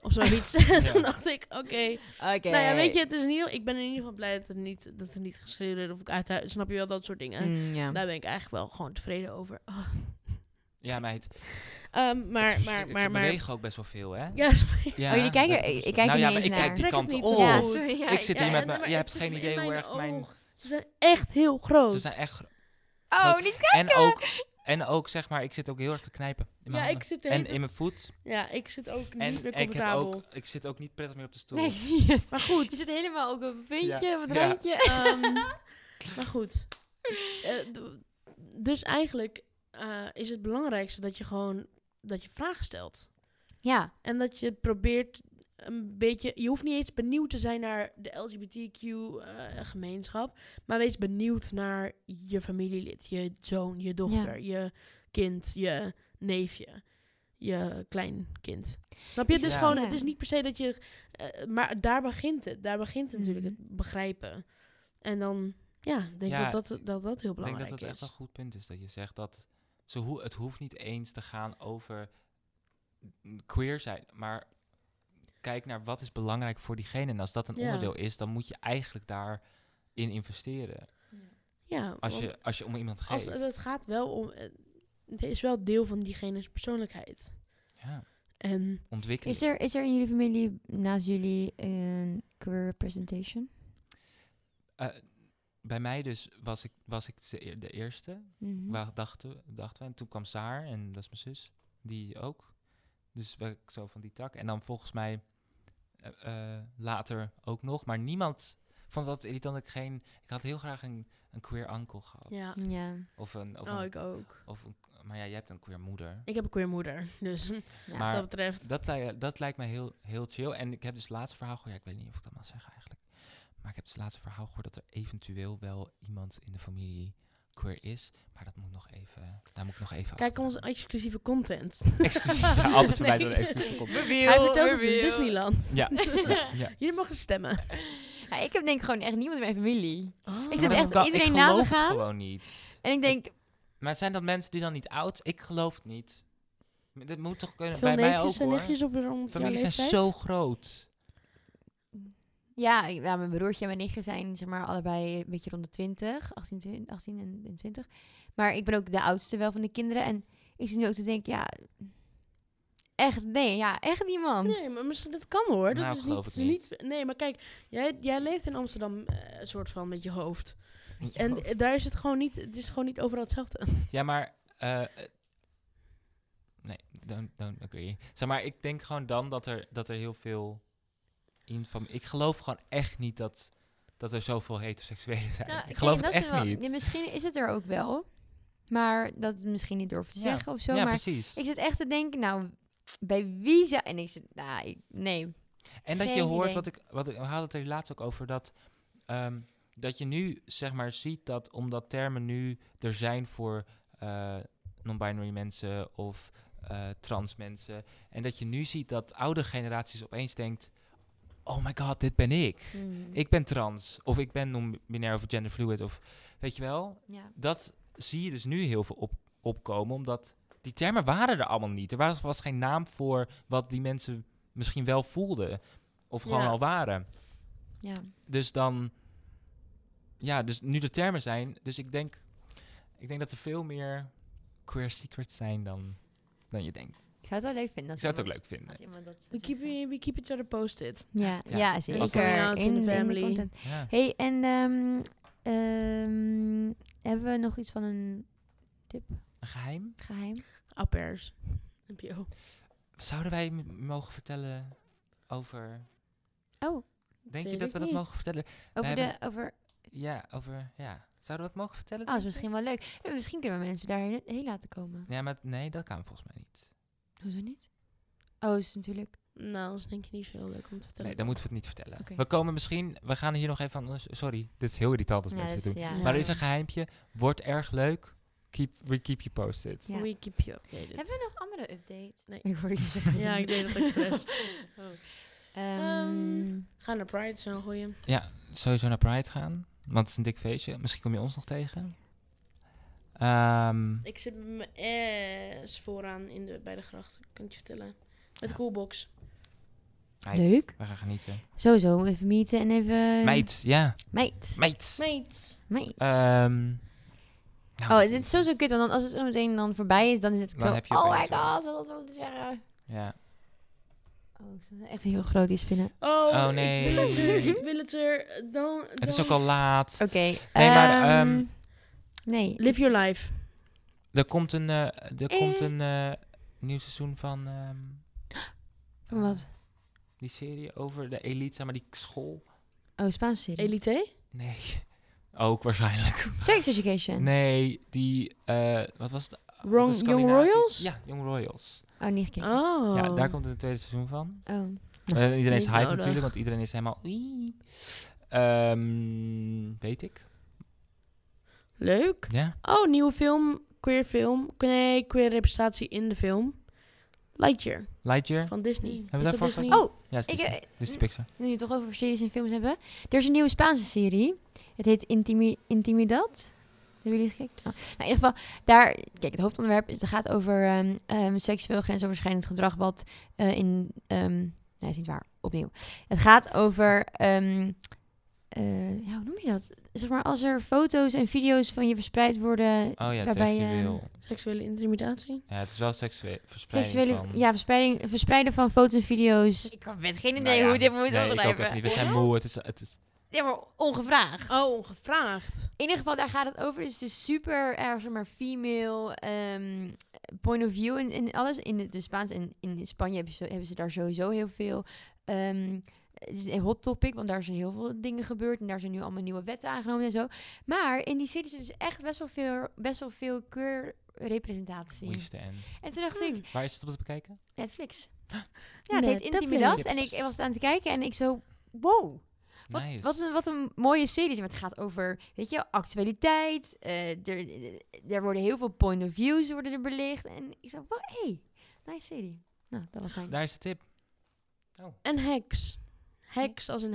Speaker 4: Of zoiets.
Speaker 1: Ja.
Speaker 4: Toen dacht ik, oké.
Speaker 2: Oké.
Speaker 4: Nou ja, weet je, het is in ieder, ik ben in ieder geval blij dat het niet, dat het niet geschreeuwd werd of ik uit Snap je wel, dat soort dingen.
Speaker 2: Mm, ja.
Speaker 1: Nou,
Speaker 4: Daar ben ik eigenlijk wel gewoon tevreden over. Oh.
Speaker 1: Ja, meid. het is
Speaker 4: Ehm, maar, maar,
Speaker 1: verschrikkelijk.
Speaker 4: maar,
Speaker 1: Ze
Speaker 4: maar.
Speaker 1: bewegen ook best wel veel, hè?
Speaker 4: Ja, sorry.
Speaker 1: Ja,
Speaker 2: Oh, jullie kijken-
Speaker 1: dat is
Speaker 2: ik- ik
Speaker 1: best-
Speaker 2: kijk
Speaker 1: nou, ja,
Speaker 2: er niet
Speaker 1: maar
Speaker 2: eens
Speaker 1: ik kijk
Speaker 2: naar.
Speaker 1: die
Speaker 4: Trek het
Speaker 1: kant
Speaker 4: niet
Speaker 1: op.
Speaker 4: zo
Speaker 2: Ja,
Speaker 4: goed.
Speaker 2: sorry. Ja,
Speaker 1: Ik zit
Speaker 4: Ja,
Speaker 1: hier met
Speaker 4: en-
Speaker 1: mijn...
Speaker 4: maar
Speaker 1: je
Speaker 4: het
Speaker 1: hebt
Speaker 4: zit
Speaker 1: geen
Speaker 4: in
Speaker 1: idee hoe
Speaker 4: mijn
Speaker 1: erg mijn...
Speaker 4: oog. Ze zijn echt heel groot.
Speaker 1: Ze zijn echt... gro-
Speaker 2: Oh, niet
Speaker 1: En
Speaker 2: kijken!
Speaker 1: ook, en ook, zeg maar, ik zit ook heel erg te knijpen in mijn
Speaker 4: ja,
Speaker 1: handen.
Speaker 4: ik zit
Speaker 1: En
Speaker 4: er
Speaker 1: in mijn voet.
Speaker 4: Ja, ik zit ook niet
Speaker 1: En,
Speaker 4: meer
Speaker 1: en ik, heb
Speaker 4: comfortabel.
Speaker 1: ook, ik zit ook niet prettig meer op de stoel.
Speaker 2: Nee, ik zie het.
Speaker 4: Maar goed.
Speaker 2: Je zit helemaal ook een beetje
Speaker 1: Ja.
Speaker 2: op het
Speaker 1: Ja.
Speaker 2: randje.
Speaker 4: ehm, maar goed. Eh, d- dus eigenlijk eh, is het belangrijkste dat je gewoon dat je vragen stelt.
Speaker 2: Ja,
Speaker 4: En dat je probeert een beetje... Je hoeft niet eens benieuwd te zijn naar de LGBTQ-gemeenschap. eh, maar wees benieuwd naar je familielid. Je zoon, je dochter, je kind, je neefje. je kleinkind. Snap je?
Speaker 1: Is-
Speaker 4: Dus
Speaker 1: Ja.
Speaker 4: gewoon,
Speaker 2: Ja.
Speaker 4: het is niet per se dat je... eh, maar daar begint het. Daar begint het natuurlijk
Speaker 2: Mhm.
Speaker 4: het begrijpen. En dan, ja, ik denk
Speaker 1: Ja,
Speaker 4: dat, dat dat dat heel
Speaker 1: Ik denk
Speaker 4: belangrijk
Speaker 1: dat dat echt een
Speaker 4: is.
Speaker 1: goed punt is. Dat je zegt dat ze hoe het hoeft niet eens te gaan over n- queer zijn. Maar kijk naar wat is belangrijk voor diegene. En als dat een
Speaker 4: Ja.
Speaker 1: onderdeel is, dan moet je eigenlijk daarin investeren.
Speaker 4: Ja,
Speaker 1: Als
Speaker 4: want-
Speaker 1: je, als je om iemand
Speaker 4: Als,
Speaker 1: geeft.
Speaker 4: het gaat wel om. eh, Het is wel deel van diegene's persoonlijkheid.
Speaker 1: ja,
Speaker 4: En
Speaker 1: ontwikkeling.
Speaker 2: Is er, is er in jullie familie naast jullie een queer representation?
Speaker 1: Eh, bij mij dus was ik, was ik de eer- de eerste.
Speaker 2: Mhm.
Speaker 4: Mhm.
Speaker 1: Waar dachten, dachten we. En toen kwam Saar, en dat is mijn zus, die ook. Dus we zo van die tak. En dan volgens mij eh, eh, later ook nog. Maar niemand vond dat irritant. dat Ik, geen, ik had heel graag een, een queer uncle gehad.
Speaker 4: ja.
Speaker 2: Ja.
Speaker 1: Of een, of
Speaker 4: Oh,
Speaker 1: een,
Speaker 4: ik ook.
Speaker 1: of een- maar ja, jij hebt een queer moeder.
Speaker 4: Ik heb een queer moeder. Dus
Speaker 2: Ja.
Speaker 1: Maar-
Speaker 4: wat dat betreft.
Speaker 1: Dat, li- dat lijkt mij heel, heel chill. En ik heb dus het laatste verhaal gehoord. Ja, ik weet niet of ik dat mag zeggen eigenlijk. Maar ik heb dus het laatste verhaal gehoord dat er eventueel wel iemand in de familie queer is. Maar dat moet nog even. Daar moet ik nog even
Speaker 4: Kijk
Speaker 1: achteraan.
Speaker 4: onze exclusieve content.
Speaker 1: Exclusief. Ja, altijd voor mij
Speaker 4: Nee.
Speaker 1: door de exclusieve content.
Speaker 4: Hij vertelt het in Disneyland.
Speaker 1: Ja. ja, ja.
Speaker 4: Jullie mogen stemmen.
Speaker 2: Ja, ik heb denk ik gewoon echt niemand in mijn familie. Ik
Speaker 1: Maar
Speaker 2: zit
Speaker 1: dat
Speaker 2: echt
Speaker 1: kan-
Speaker 2: iedereen
Speaker 1: ik
Speaker 2: na
Speaker 1: geloof
Speaker 2: te
Speaker 1: het
Speaker 2: gaan.
Speaker 1: gewoon niet.
Speaker 2: En ik denk,
Speaker 1: Maar zijn dat mensen die dan niet oud? Ik geloof het niet. Maar Dat moet toch kunnen.
Speaker 4: Veel
Speaker 1: bij mij ook
Speaker 4: neefjes en
Speaker 1: hoor.
Speaker 4: nichtjes op de rond.
Speaker 1: Families zijn zo groot.
Speaker 2: ja, ik- ja, mijn broertje en mijn nichtje zijn zeg maar allebei een beetje rond de 20, 18, 20, 18 en, en 20. Maar ik ben ook de oudste wel van de kinderen. En ik zit nu ook te denken, ja, echt, nee, ja, echt niemand.
Speaker 4: Nee, maar misschien dat kan hoor. Dat
Speaker 1: Nou, ik
Speaker 4: is, niet,
Speaker 1: geloof
Speaker 4: het
Speaker 1: het
Speaker 4: is niet. Nee, maar kijk, jij, jij leeft in Amsterdam eh, soort van met je hoofd. en eh, daar is het gewoon niet. Het is gewoon niet overal hetzelfde.
Speaker 1: Ja, maar. eh, eh, nee, don't, don't agree. Zeg maar, ik denk gewoon dan dat er, dat er heel veel. In fam- ik geloof gewoon echt niet dat, dat er zoveel heteroseksuelen zijn.
Speaker 2: Nou,
Speaker 1: ik,
Speaker 2: kijk,
Speaker 1: geloof
Speaker 2: en
Speaker 1: het
Speaker 2: dat is
Speaker 1: echt
Speaker 2: wel-
Speaker 1: niet.
Speaker 2: ja, misschien is het er ook wel. Maar dat misschien niet durven te
Speaker 1: Ja.
Speaker 2: zeggen of zo.
Speaker 1: ja,
Speaker 2: maar
Speaker 1: precies.
Speaker 2: ik zit echt te denken, nou, bij wie zou... En ik zit, nou, ik- nee.
Speaker 1: En dat je
Speaker 2: Geen
Speaker 1: hoort,
Speaker 2: idee.
Speaker 1: wat ik, wat ik we hadden het er laatst ook over, dat, ehm, dat je nu zeg maar ziet dat omdat termen nu er zijn voor eh, non-binary mensen of eh, trans mensen, en dat je nu ziet dat oudere generaties opeens denkt, oh my god, dit ben ik.
Speaker 2: Mm.
Speaker 4: Hmm.
Speaker 1: Ik ben trans, of ik ben non-binair of genderfluid, of weet je wel.
Speaker 2: Ja.
Speaker 1: Dat zie je dus nu heel veel op, opkomen, omdat die termen waren er allemaal niet. Er was, was geen naam voor wat die mensen misschien wel voelden, of gewoon
Speaker 4: Ja.
Speaker 1: al waren.
Speaker 2: ja.
Speaker 1: Dus dan, ja, dus nu de termen zijn, dus ik denk, ik denk dat er veel meer queer secrets zijn dan, dan je denkt.
Speaker 2: Ik zou het wel leuk vinden. Als
Speaker 1: Ik zou het ook
Speaker 2: iemand-
Speaker 1: leuk vinden.
Speaker 2: als iemand dat
Speaker 4: We
Speaker 2: zou
Speaker 4: keep,
Speaker 2: zeggen.
Speaker 4: we keep each other posted.
Speaker 2: Ja,
Speaker 1: Ja.
Speaker 2: ja, zeker.
Speaker 1: Als dat-
Speaker 4: Coming out in the
Speaker 2: de
Speaker 4: family.
Speaker 2: content.
Speaker 1: Ja.
Speaker 2: hey, en ehm, ehm, hebben we nog iets van een
Speaker 1: Een geheim?
Speaker 2: geheim?
Speaker 4: Appers. Heb je ook.
Speaker 1: Zouden wij m- mogen vertellen over...
Speaker 2: Oh,
Speaker 1: Denk je
Speaker 4: weet
Speaker 1: dat
Speaker 4: ik
Speaker 1: we dat
Speaker 4: niet.
Speaker 1: mogen vertellen?
Speaker 2: over de...
Speaker 1: hebben-
Speaker 2: Over,
Speaker 1: Ja, over. Ja. Zouden we dat mogen vertellen?
Speaker 2: oh,
Speaker 1: denk
Speaker 2: is
Speaker 1: je?
Speaker 2: misschien wel leuk. Eh, Misschien kunnen we mensen daarheen heen laten komen.
Speaker 1: Ja, maar nee, dat kan volgens mij niet.
Speaker 2: Hoezo niet? Oh, is natuurlijk...
Speaker 4: Nou, dat is denk ik niet zo heel leuk om te vertellen.
Speaker 1: Nee, dan moeten we het niet vertellen.
Speaker 2: Oké.
Speaker 1: We komen misschien. We gaan hier nog even aan. ons- Sorry, dit is heel irritant als
Speaker 2: Ja,
Speaker 1: mensen dit
Speaker 2: dat
Speaker 1: doen.
Speaker 2: is- ja.
Speaker 4: Maar
Speaker 1: Maar er
Speaker 4: Ja.
Speaker 1: is een geheimje. Wordt erg leuk. Keep, we keep you posted.
Speaker 2: Ja.
Speaker 4: We keep you updated.
Speaker 2: Hebben we nog andere updates?
Speaker 4: Nee.
Speaker 2: Ik hoor je zeggen.
Speaker 4: Ja, ik deed dat expres.
Speaker 2: Ehm,
Speaker 4: Gaan naar Pride, zo'n goeie.
Speaker 1: Ja, sowieso naar Pride gaan. Want het is een dik feestje. Misschien kom je ons nog tegen. Ehm,
Speaker 4: Ik zit met mijn ass vooraan in de, bij de gracht, kan ik je vertellen. Met de coolbox.
Speaker 1: meid,
Speaker 2: Leuk.
Speaker 1: We gaan genieten.
Speaker 2: sowieso, even meeten en even...
Speaker 1: Meid, ja.
Speaker 2: Meid.
Speaker 1: Meid.
Speaker 4: Meet.
Speaker 2: Meid.
Speaker 1: Ehm, nou,
Speaker 2: Oh, dit is sowieso kut, want dan, als het zo meteen dan voorbij is, dan is het
Speaker 1: Dan
Speaker 2: zo...
Speaker 1: heb je
Speaker 2: oh my
Speaker 1: opeens
Speaker 2: god,
Speaker 1: wat.
Speaker 2: dat wilde ik zeggen.
Speaker 1: Ja.
Speaker 2: Oh, ze zijn echt heel groot, die spinnen.
Speaker 4: Oh,
Speaker 1: Oh, nee.
Speaker 4: Ik wil het er, ik wil het er. Dan,
Speaker 1: Het is
Speaker 4: dan-
Speaker 1: ook al laat.
Speaker 2: Oké.
Speaker 1: Nee, maar,
Speaker 2: ehm,
Speaker 1: ehm,
Speaker 2: nee.
Speaker 4: Live your life.
Speaker 1: Er komt een, eh, er
Speaker 2: Eh.
Speaker 1: komt een eh, nieuw seizoen van. ehm,
Speaker 2: Van wat?
Speaker 1: Die serie over de elite, zeg maar die school.
Speaker 2: Oh, Spaanse serie.
Speaker 4: Elite?
Speaker 1: Nee. Ook waarschijnlijk.
Speaker 2: Sex Education.
Speaker 1: Nee, die. eh, wat was het?
Speaker 4: Wrong-
Speaker 1: De
Speaker 4: Young
Speaker 1: Scandinavisch-
Speaker 4: Royals?
Speaker 1: Ja, Young Royals.
Speaker 2: Oh, niet gekeken.
Speaker 4: Oh.
Speaker 1: Ja, daar komt het tweede seizoen van.
Speaker 2: Oh.
Speaker 1: Eh, iedereen is
Speaker 4: niet
Speaker 1: hype
Speaker 4: nodig.
Speaker 1: natuurlijk, want iedereen is helemaal. "Oei." Ehm, weet ik.
Speaker 4: Leuk.
Speaker 1: Ja.
Speaker 4: Oh, nieuwe film. Queer film. Nee, queer representatie in de film. Lightyear
Speaker 1: Lightyear.
Speaker 4: van Disney.
Speaker 1: we
Speaker 4: Is
Speaker 1: daarvoor
Speaker 4: dat Disney?
Speaker 2: Oh,
Speaker 1: Ja, is
Speaker 2: ik,
Speaker 1: Disney.
Speaker 2: eh,
Speaker 1: Disney Pixar.
Speaker 2: nu we het toch over series en films hebben. Er is een nieuwe Spaanse serie. Het heet Intimi Intimidad. Hebben jullie gekeken? Oh. Nou, in ieder geval, daar, kijk, het hoofdonderwerp is, het gaat over ehm, ehm, seksueel grensoverschrijdend gedrag. Wat eh, in. ehm nee, is niet waar, opnieuw. Het gaat over. ehm, eh, ja, hoe noem je dat? Zeg maar als er foto's en video's van je verspreid worden.
Speaker 1: Oh ja,
Speaker 2: Waarbij, eh,
Speaker 1: seksueel.
Speaker 4: Seksuele intimidatie.
Speaker 1: Ja, het is wel seksueel verspreiding
Speaker 2: Seksuele,
Speaker 1: van...
Speaker 2: ja, verspreiding, verspreiden van foto's en video's. Ik heb geen idee
Speaker 1: Nou ja,
Speaker 2: hoe dit moet
Speaker 1: nee, ik ook
Speaker 2: omschrijven.
Speaker 1: even niet. We zijn moe, het is... Het is
Speaker 2: Ja, maar ongevraagd.
Speaker 4: Oh, ongevraagd.
Speaker 2: In ieder geval, daar gaat het over. Dus het is super, eh, zeg maar, female ehm, point of view en, en alles. In de, de Spaans en in Spanje hebben ze, hebben ze daar sowieso heel veel... ehm, het is een hot topic, want daar zijn heel veel dingen gebeurd. En daar zijn nu allemaal nieuwe wetten aangenomen en zo. Maar in die serie zit dus echt best wel veel, best wel veel queer representatie.
Speaker 1: we stand.
Speaker 2: En toen dacht ik,
Speaker 1: Waar is het op te bekijken?
Speaker 2: Netflix. Ja, het heet
Speaker 4: Netflix.
Speaker 2: Intimidat. En ik
Speaker 1: Tips.
Speaker 2: was het aan het kijken en ik zo, wow. Wat,
Speaker 1: nice.
Speaker 2: wat, een, wat een mooie serie. Maar het gaat over, weet je, actualiteit. eh, er, er worden heel veel point of views worden er belicht. En ik zei, wow, hey, nice serie. Nou, dat was mijn...
Speaker 1: Daar is de tip.
Speaker 4: En Hex. Hex als in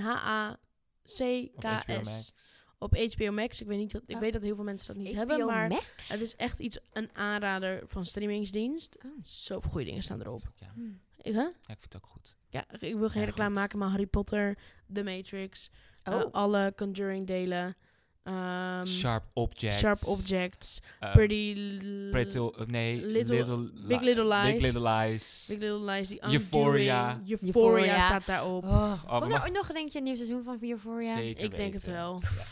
Speaker 1: Op HBO
Speaker 4: H-A-C-K-S.
Speaker 1: Max.
Speaker 4: Op HBO Max. Ik weet, niet dat, ik
Speaker 2: Oh.
Speaker 4: weet dat heel veel mensen dat niet
Speaker 2: HBO
Speaker 4: hebben, maar
Speaker 2: Max?
Speaker 4: het is echt iets, een aanrader van streamingsdienst.
Speaker 2: Oh,
Speaker 4: Zoveel goede dingen staan erop.
Speaker 1: Ja,
Speaker 2: Hm.
Speaker 4: Ik, hè?
Speaker 1: Ja, ik vind het ook goed.
Speaker 4: Ja, ik wil geen
Speaker 1: Ja,
Speaker 4: reclame
Speaker 1: goed.
Speaker 4: maken, maar Harry Potter, The Matrix, eh,
Speaker 2: Oh.
Speaker 4: alle Conjuring delen. ehm,
Speaker 1: Sharp Objects.
Speaker 4: Sharp Objects,
Speaker 1: eh,
Speaker 4: Pretty, L-
Speaker 1: Pretty... eh, nee,
Speaker 4: Little-
Speaker 1: Little...
Speaker 4: Big Little Lies.
Speaker 1: Big Little Lies.
Speaker 4: Big Little Lies, The Undoing,
Speaker 1: Euphoria.
Speaker 4: Euphoria,
Speaker 2: Euphoria.
Speaker 4: staat daarop.
Speaker 1: Oh, we
Speaker 2: Komt er
Speaker 1: mag-
Speaker 2: ooit nog, denk je, een nieuw seizoen van Euphoria?
Speaker 1: Zeker
Speaker 4: ik denk het
Speaker 1: weten.
Speaker 4: wel.
Speaker 1: Ja.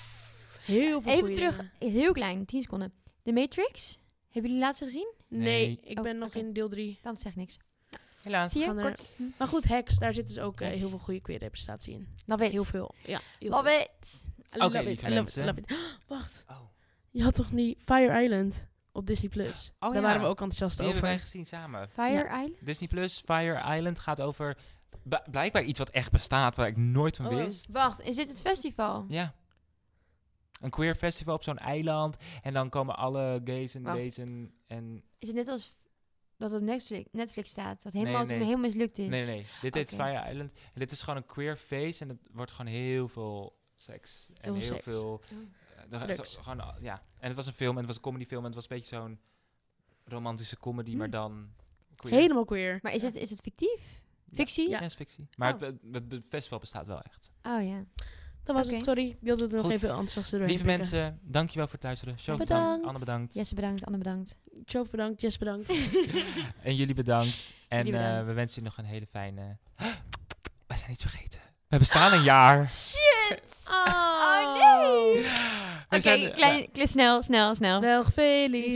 Speaker 4: Heel veel
Speaker 2: Even
Speaker 4: goeie
Speaker 2: terug,
Speaker 4: dingen.
Speaker 2: heel klein, 10 seconden. The Matrix, hebben jullie laatst gezien?
Speaker 4: Nee,
Speaker 1: Nee.
Speaker 4: ik
Speaker 2: Oh,
Speaker 4: ben nog
Speaker 2: oké.
Speaker 4: in deel 3.
Speaker 2: Dan zegt niks.
Speaker 1: Helaas.
Speaker 2: Zie je,
Speaker 4: gaan er-
Speaker 2: kort. Hm.
Speaker 4: Maar goed, Hex, daar zit dus ook eh,
Speaker 2: Hex.
Speaker 4: heel veel goede queer representatie in.
Speaker 2: Love it.
Speaker 4: Heel veel. Ja, heel
Speaker 2: Love
Speaker 4: veel.
Speaker 2: it.
Speaker 4: I love
Speaker 1: Oké,
Speaker 4: it,
Speaker 1: lieve
Speaker 4: I love it,
Speaker 1: mensen.
Speaker 4: love it. Wacht,
Speaker 1: Oh,
Speaker 4: je had toch die Fire Island op Disney+. Plus?
Speaker 1: Oh
Speaker 4: daar
Speaker 1: ja.
Speaker 4: waren we ook enthousiast
Speaker 1: die hebben wij
Speaker 4: over.
Speaker 1: gezien samen.
Speaker 2: Fire
Speaker 4: Ja.
Speaker 2: Island?
Speaker 1: Disney Plus, Fire Island gaat over b- blijkbaar iets wat echt bestaat, waar ik nooit van
Speaker 4: Oh.
Speaker 1: wist.
Speaker 2: Wacht, is dit het festival?
Speaker 1: Ja. Een queer festival op zo'n eiland. En dan komen alle gays en
Speaker 2: Wacht.
Speaker 1: gays en... en
Speaker 2: Is het net als dat op Netflix, Netflix staat, wat
Speaker 1: Nee,
Speaker 2: helemaal,
Speaker 1: nee.
Speaker 2: helemaal mislukt is?
Speaker 1: nee, nee, nee. Dit heet
Speaker 2: Oké.
Speaker 1: Fire Island. En dit is gewoon een queer feest. En het wordt gewoon heel veel seks. En
Speaker 4: Heel
Speaker 1: heel,
Speaker 4: veel seks.
Speaker 1: veel... eh, er-
Speaker 4: Drugs.
Speaker 1: zo- gewoon, al- ja. En het was een film. En het was een comedyfilm. En het was een beetje zo'n romantische comedy, maar
Speaker 2: Hm.
Speaker 1: dan queer.
Speaker 4: Helemaal queer.
Speaker 2: Maar is, het, is het fictief? Fictie?
Speaker 1: Ja, is fictie. Maar
Speaker 2: Oh.
Speaker 1: het, het- het festival bestaat wel echt.
Speaker 2: Oh ja.
Speaker 4: Dat was
Speaker 2: Oké.
Speaker 4: het, sorry. Ik wilde het nog
Speaker 1: Goed.
Speaker 4: even enthousiast doorheen
Speaker 1: Lieve
Speaker 4: prikken.
Speaker 1: mensen, dankjewel voor het luisteren. Show
Speaker 4: Bedankt.
Speaker 1: bedankt. Anne bedankt.
Speaker 2: Jesse bedankt, Anne bedankt.
Speaker 4: Joe bedankt, Jess
Speaker 2: Oh,
Speaker 4: bedankt.
Speaker 1: En jullie bedankt. En
Speaker 2: Jullie bedankt.
Speaker 1: eh, we wensen jullie nog een hele fijne... We zijn iets vergeten. We bestaan een jaar.
Speaker 2: Shit!
Speaker 4: Oh,
Speaker 2: nee!
Speaker 1: We
Speaker 2: Oké,
Speaker 1: zijn-
Speaker 2: klein, klein- snel, snel, snel.
Speaker 4: Ah. Wel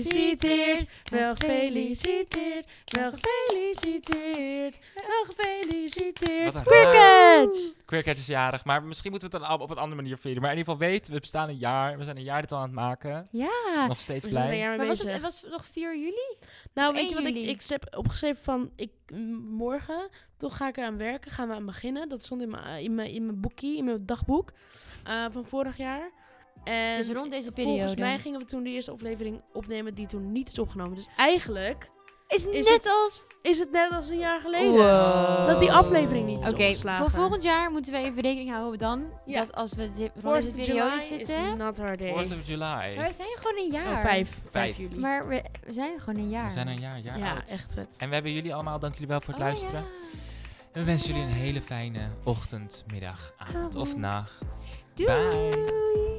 Speaker 4: gefeliciteerd, wel gefeliciteerd, wel gefeliciteerd, wel gefeliciteerd.
Speaker 1: Wat een-
Speaker 4: Cricket!
Speaker 1: Queercat is jarig, maar misschien moeten we het dan al op een andere manier vieren. Maar in ieder geval weet, we bestaan een jaar. We zijn een jaar dit al aan het maken.
Speaker 2: Ja.
Speaker 1: Nog steeds
Speaker 4: We zijn er een
Speaker 1: blij.
Speaker 4: jaar
Speaker 2: Maar
Speaker 4: mee
Speaker 2: was het,
Speaker 4: bezig.
Speaker 2: het was nog 4 juli?
Speaker 4: Nou,
Speaker 2: Op
Speaker 4: weet je
Speaker 2: 1
Speaker 4: wat ik,
Speaker 2: juli.
Speaker 4: ik heb opgeschreven van, ik, m, morgen, toch ga ik eraan werken, gaan we aan beginnen. Dat stond in mijn, eh, in mijn, in mijn boekie, in mijn dagboek eh, van vorig jaar. En
Speaker 2: dus rond deze periode.
Speaker 4: volgens mij gingen we toen de eerste aflevering opnemen die toen niet is opgenomen. Dus eigenlijk
Speaker 2: is het
Speaker 4: is
Speaker 2: net als...
Speaker 4: is het net als een jaar geleden.
Speaker 2: Wow.
Speaker 4: Dat die aflevering niet is
Speaker 2: Oké,
Speaker 4: opgeslagen.
Speaker 2: voor volgend jaar moeten we even rekening houden dan.
Speaker 4: Ja.
Speaker 2: Dat als we dit- rond
Speaker 4: Fourth
Speaker 2: deze
Speaker 4: of
Speaker 2: periode
Speaker 4: July is
Speaker 2: zitten.
Speaker 4: not our day.
Speaker 1: 4th of
Speaker 2: Maar
Speaker 1: July.
Speaker 2: we zijn gewoon een jaar.
Speaker 4: Oh, vijf, vijf
Speaker 1: Vijf.
Speaker 4: juli.
Speaker 2: Maar we, we zijn gewoon een jaar.
Speaker 1: We zijn een jaar, jaar
Speaker 4: ja,
Speaker 1: oud.
Speaker 4: echt vet.
Speaker 1: En we hebben jullie allemaal, dank jullie wel voor het
Speaker 2: Oh,
Speaker 1: luisteren.
Speaker 2: ja.
Speaker 1: En we wensen jullie een hele fijne ochtend, middag, avond of
Speaker 2: Avond.
Speaker 1: nacht.
Speaker 2: Doei!
Speaker 1: Bye.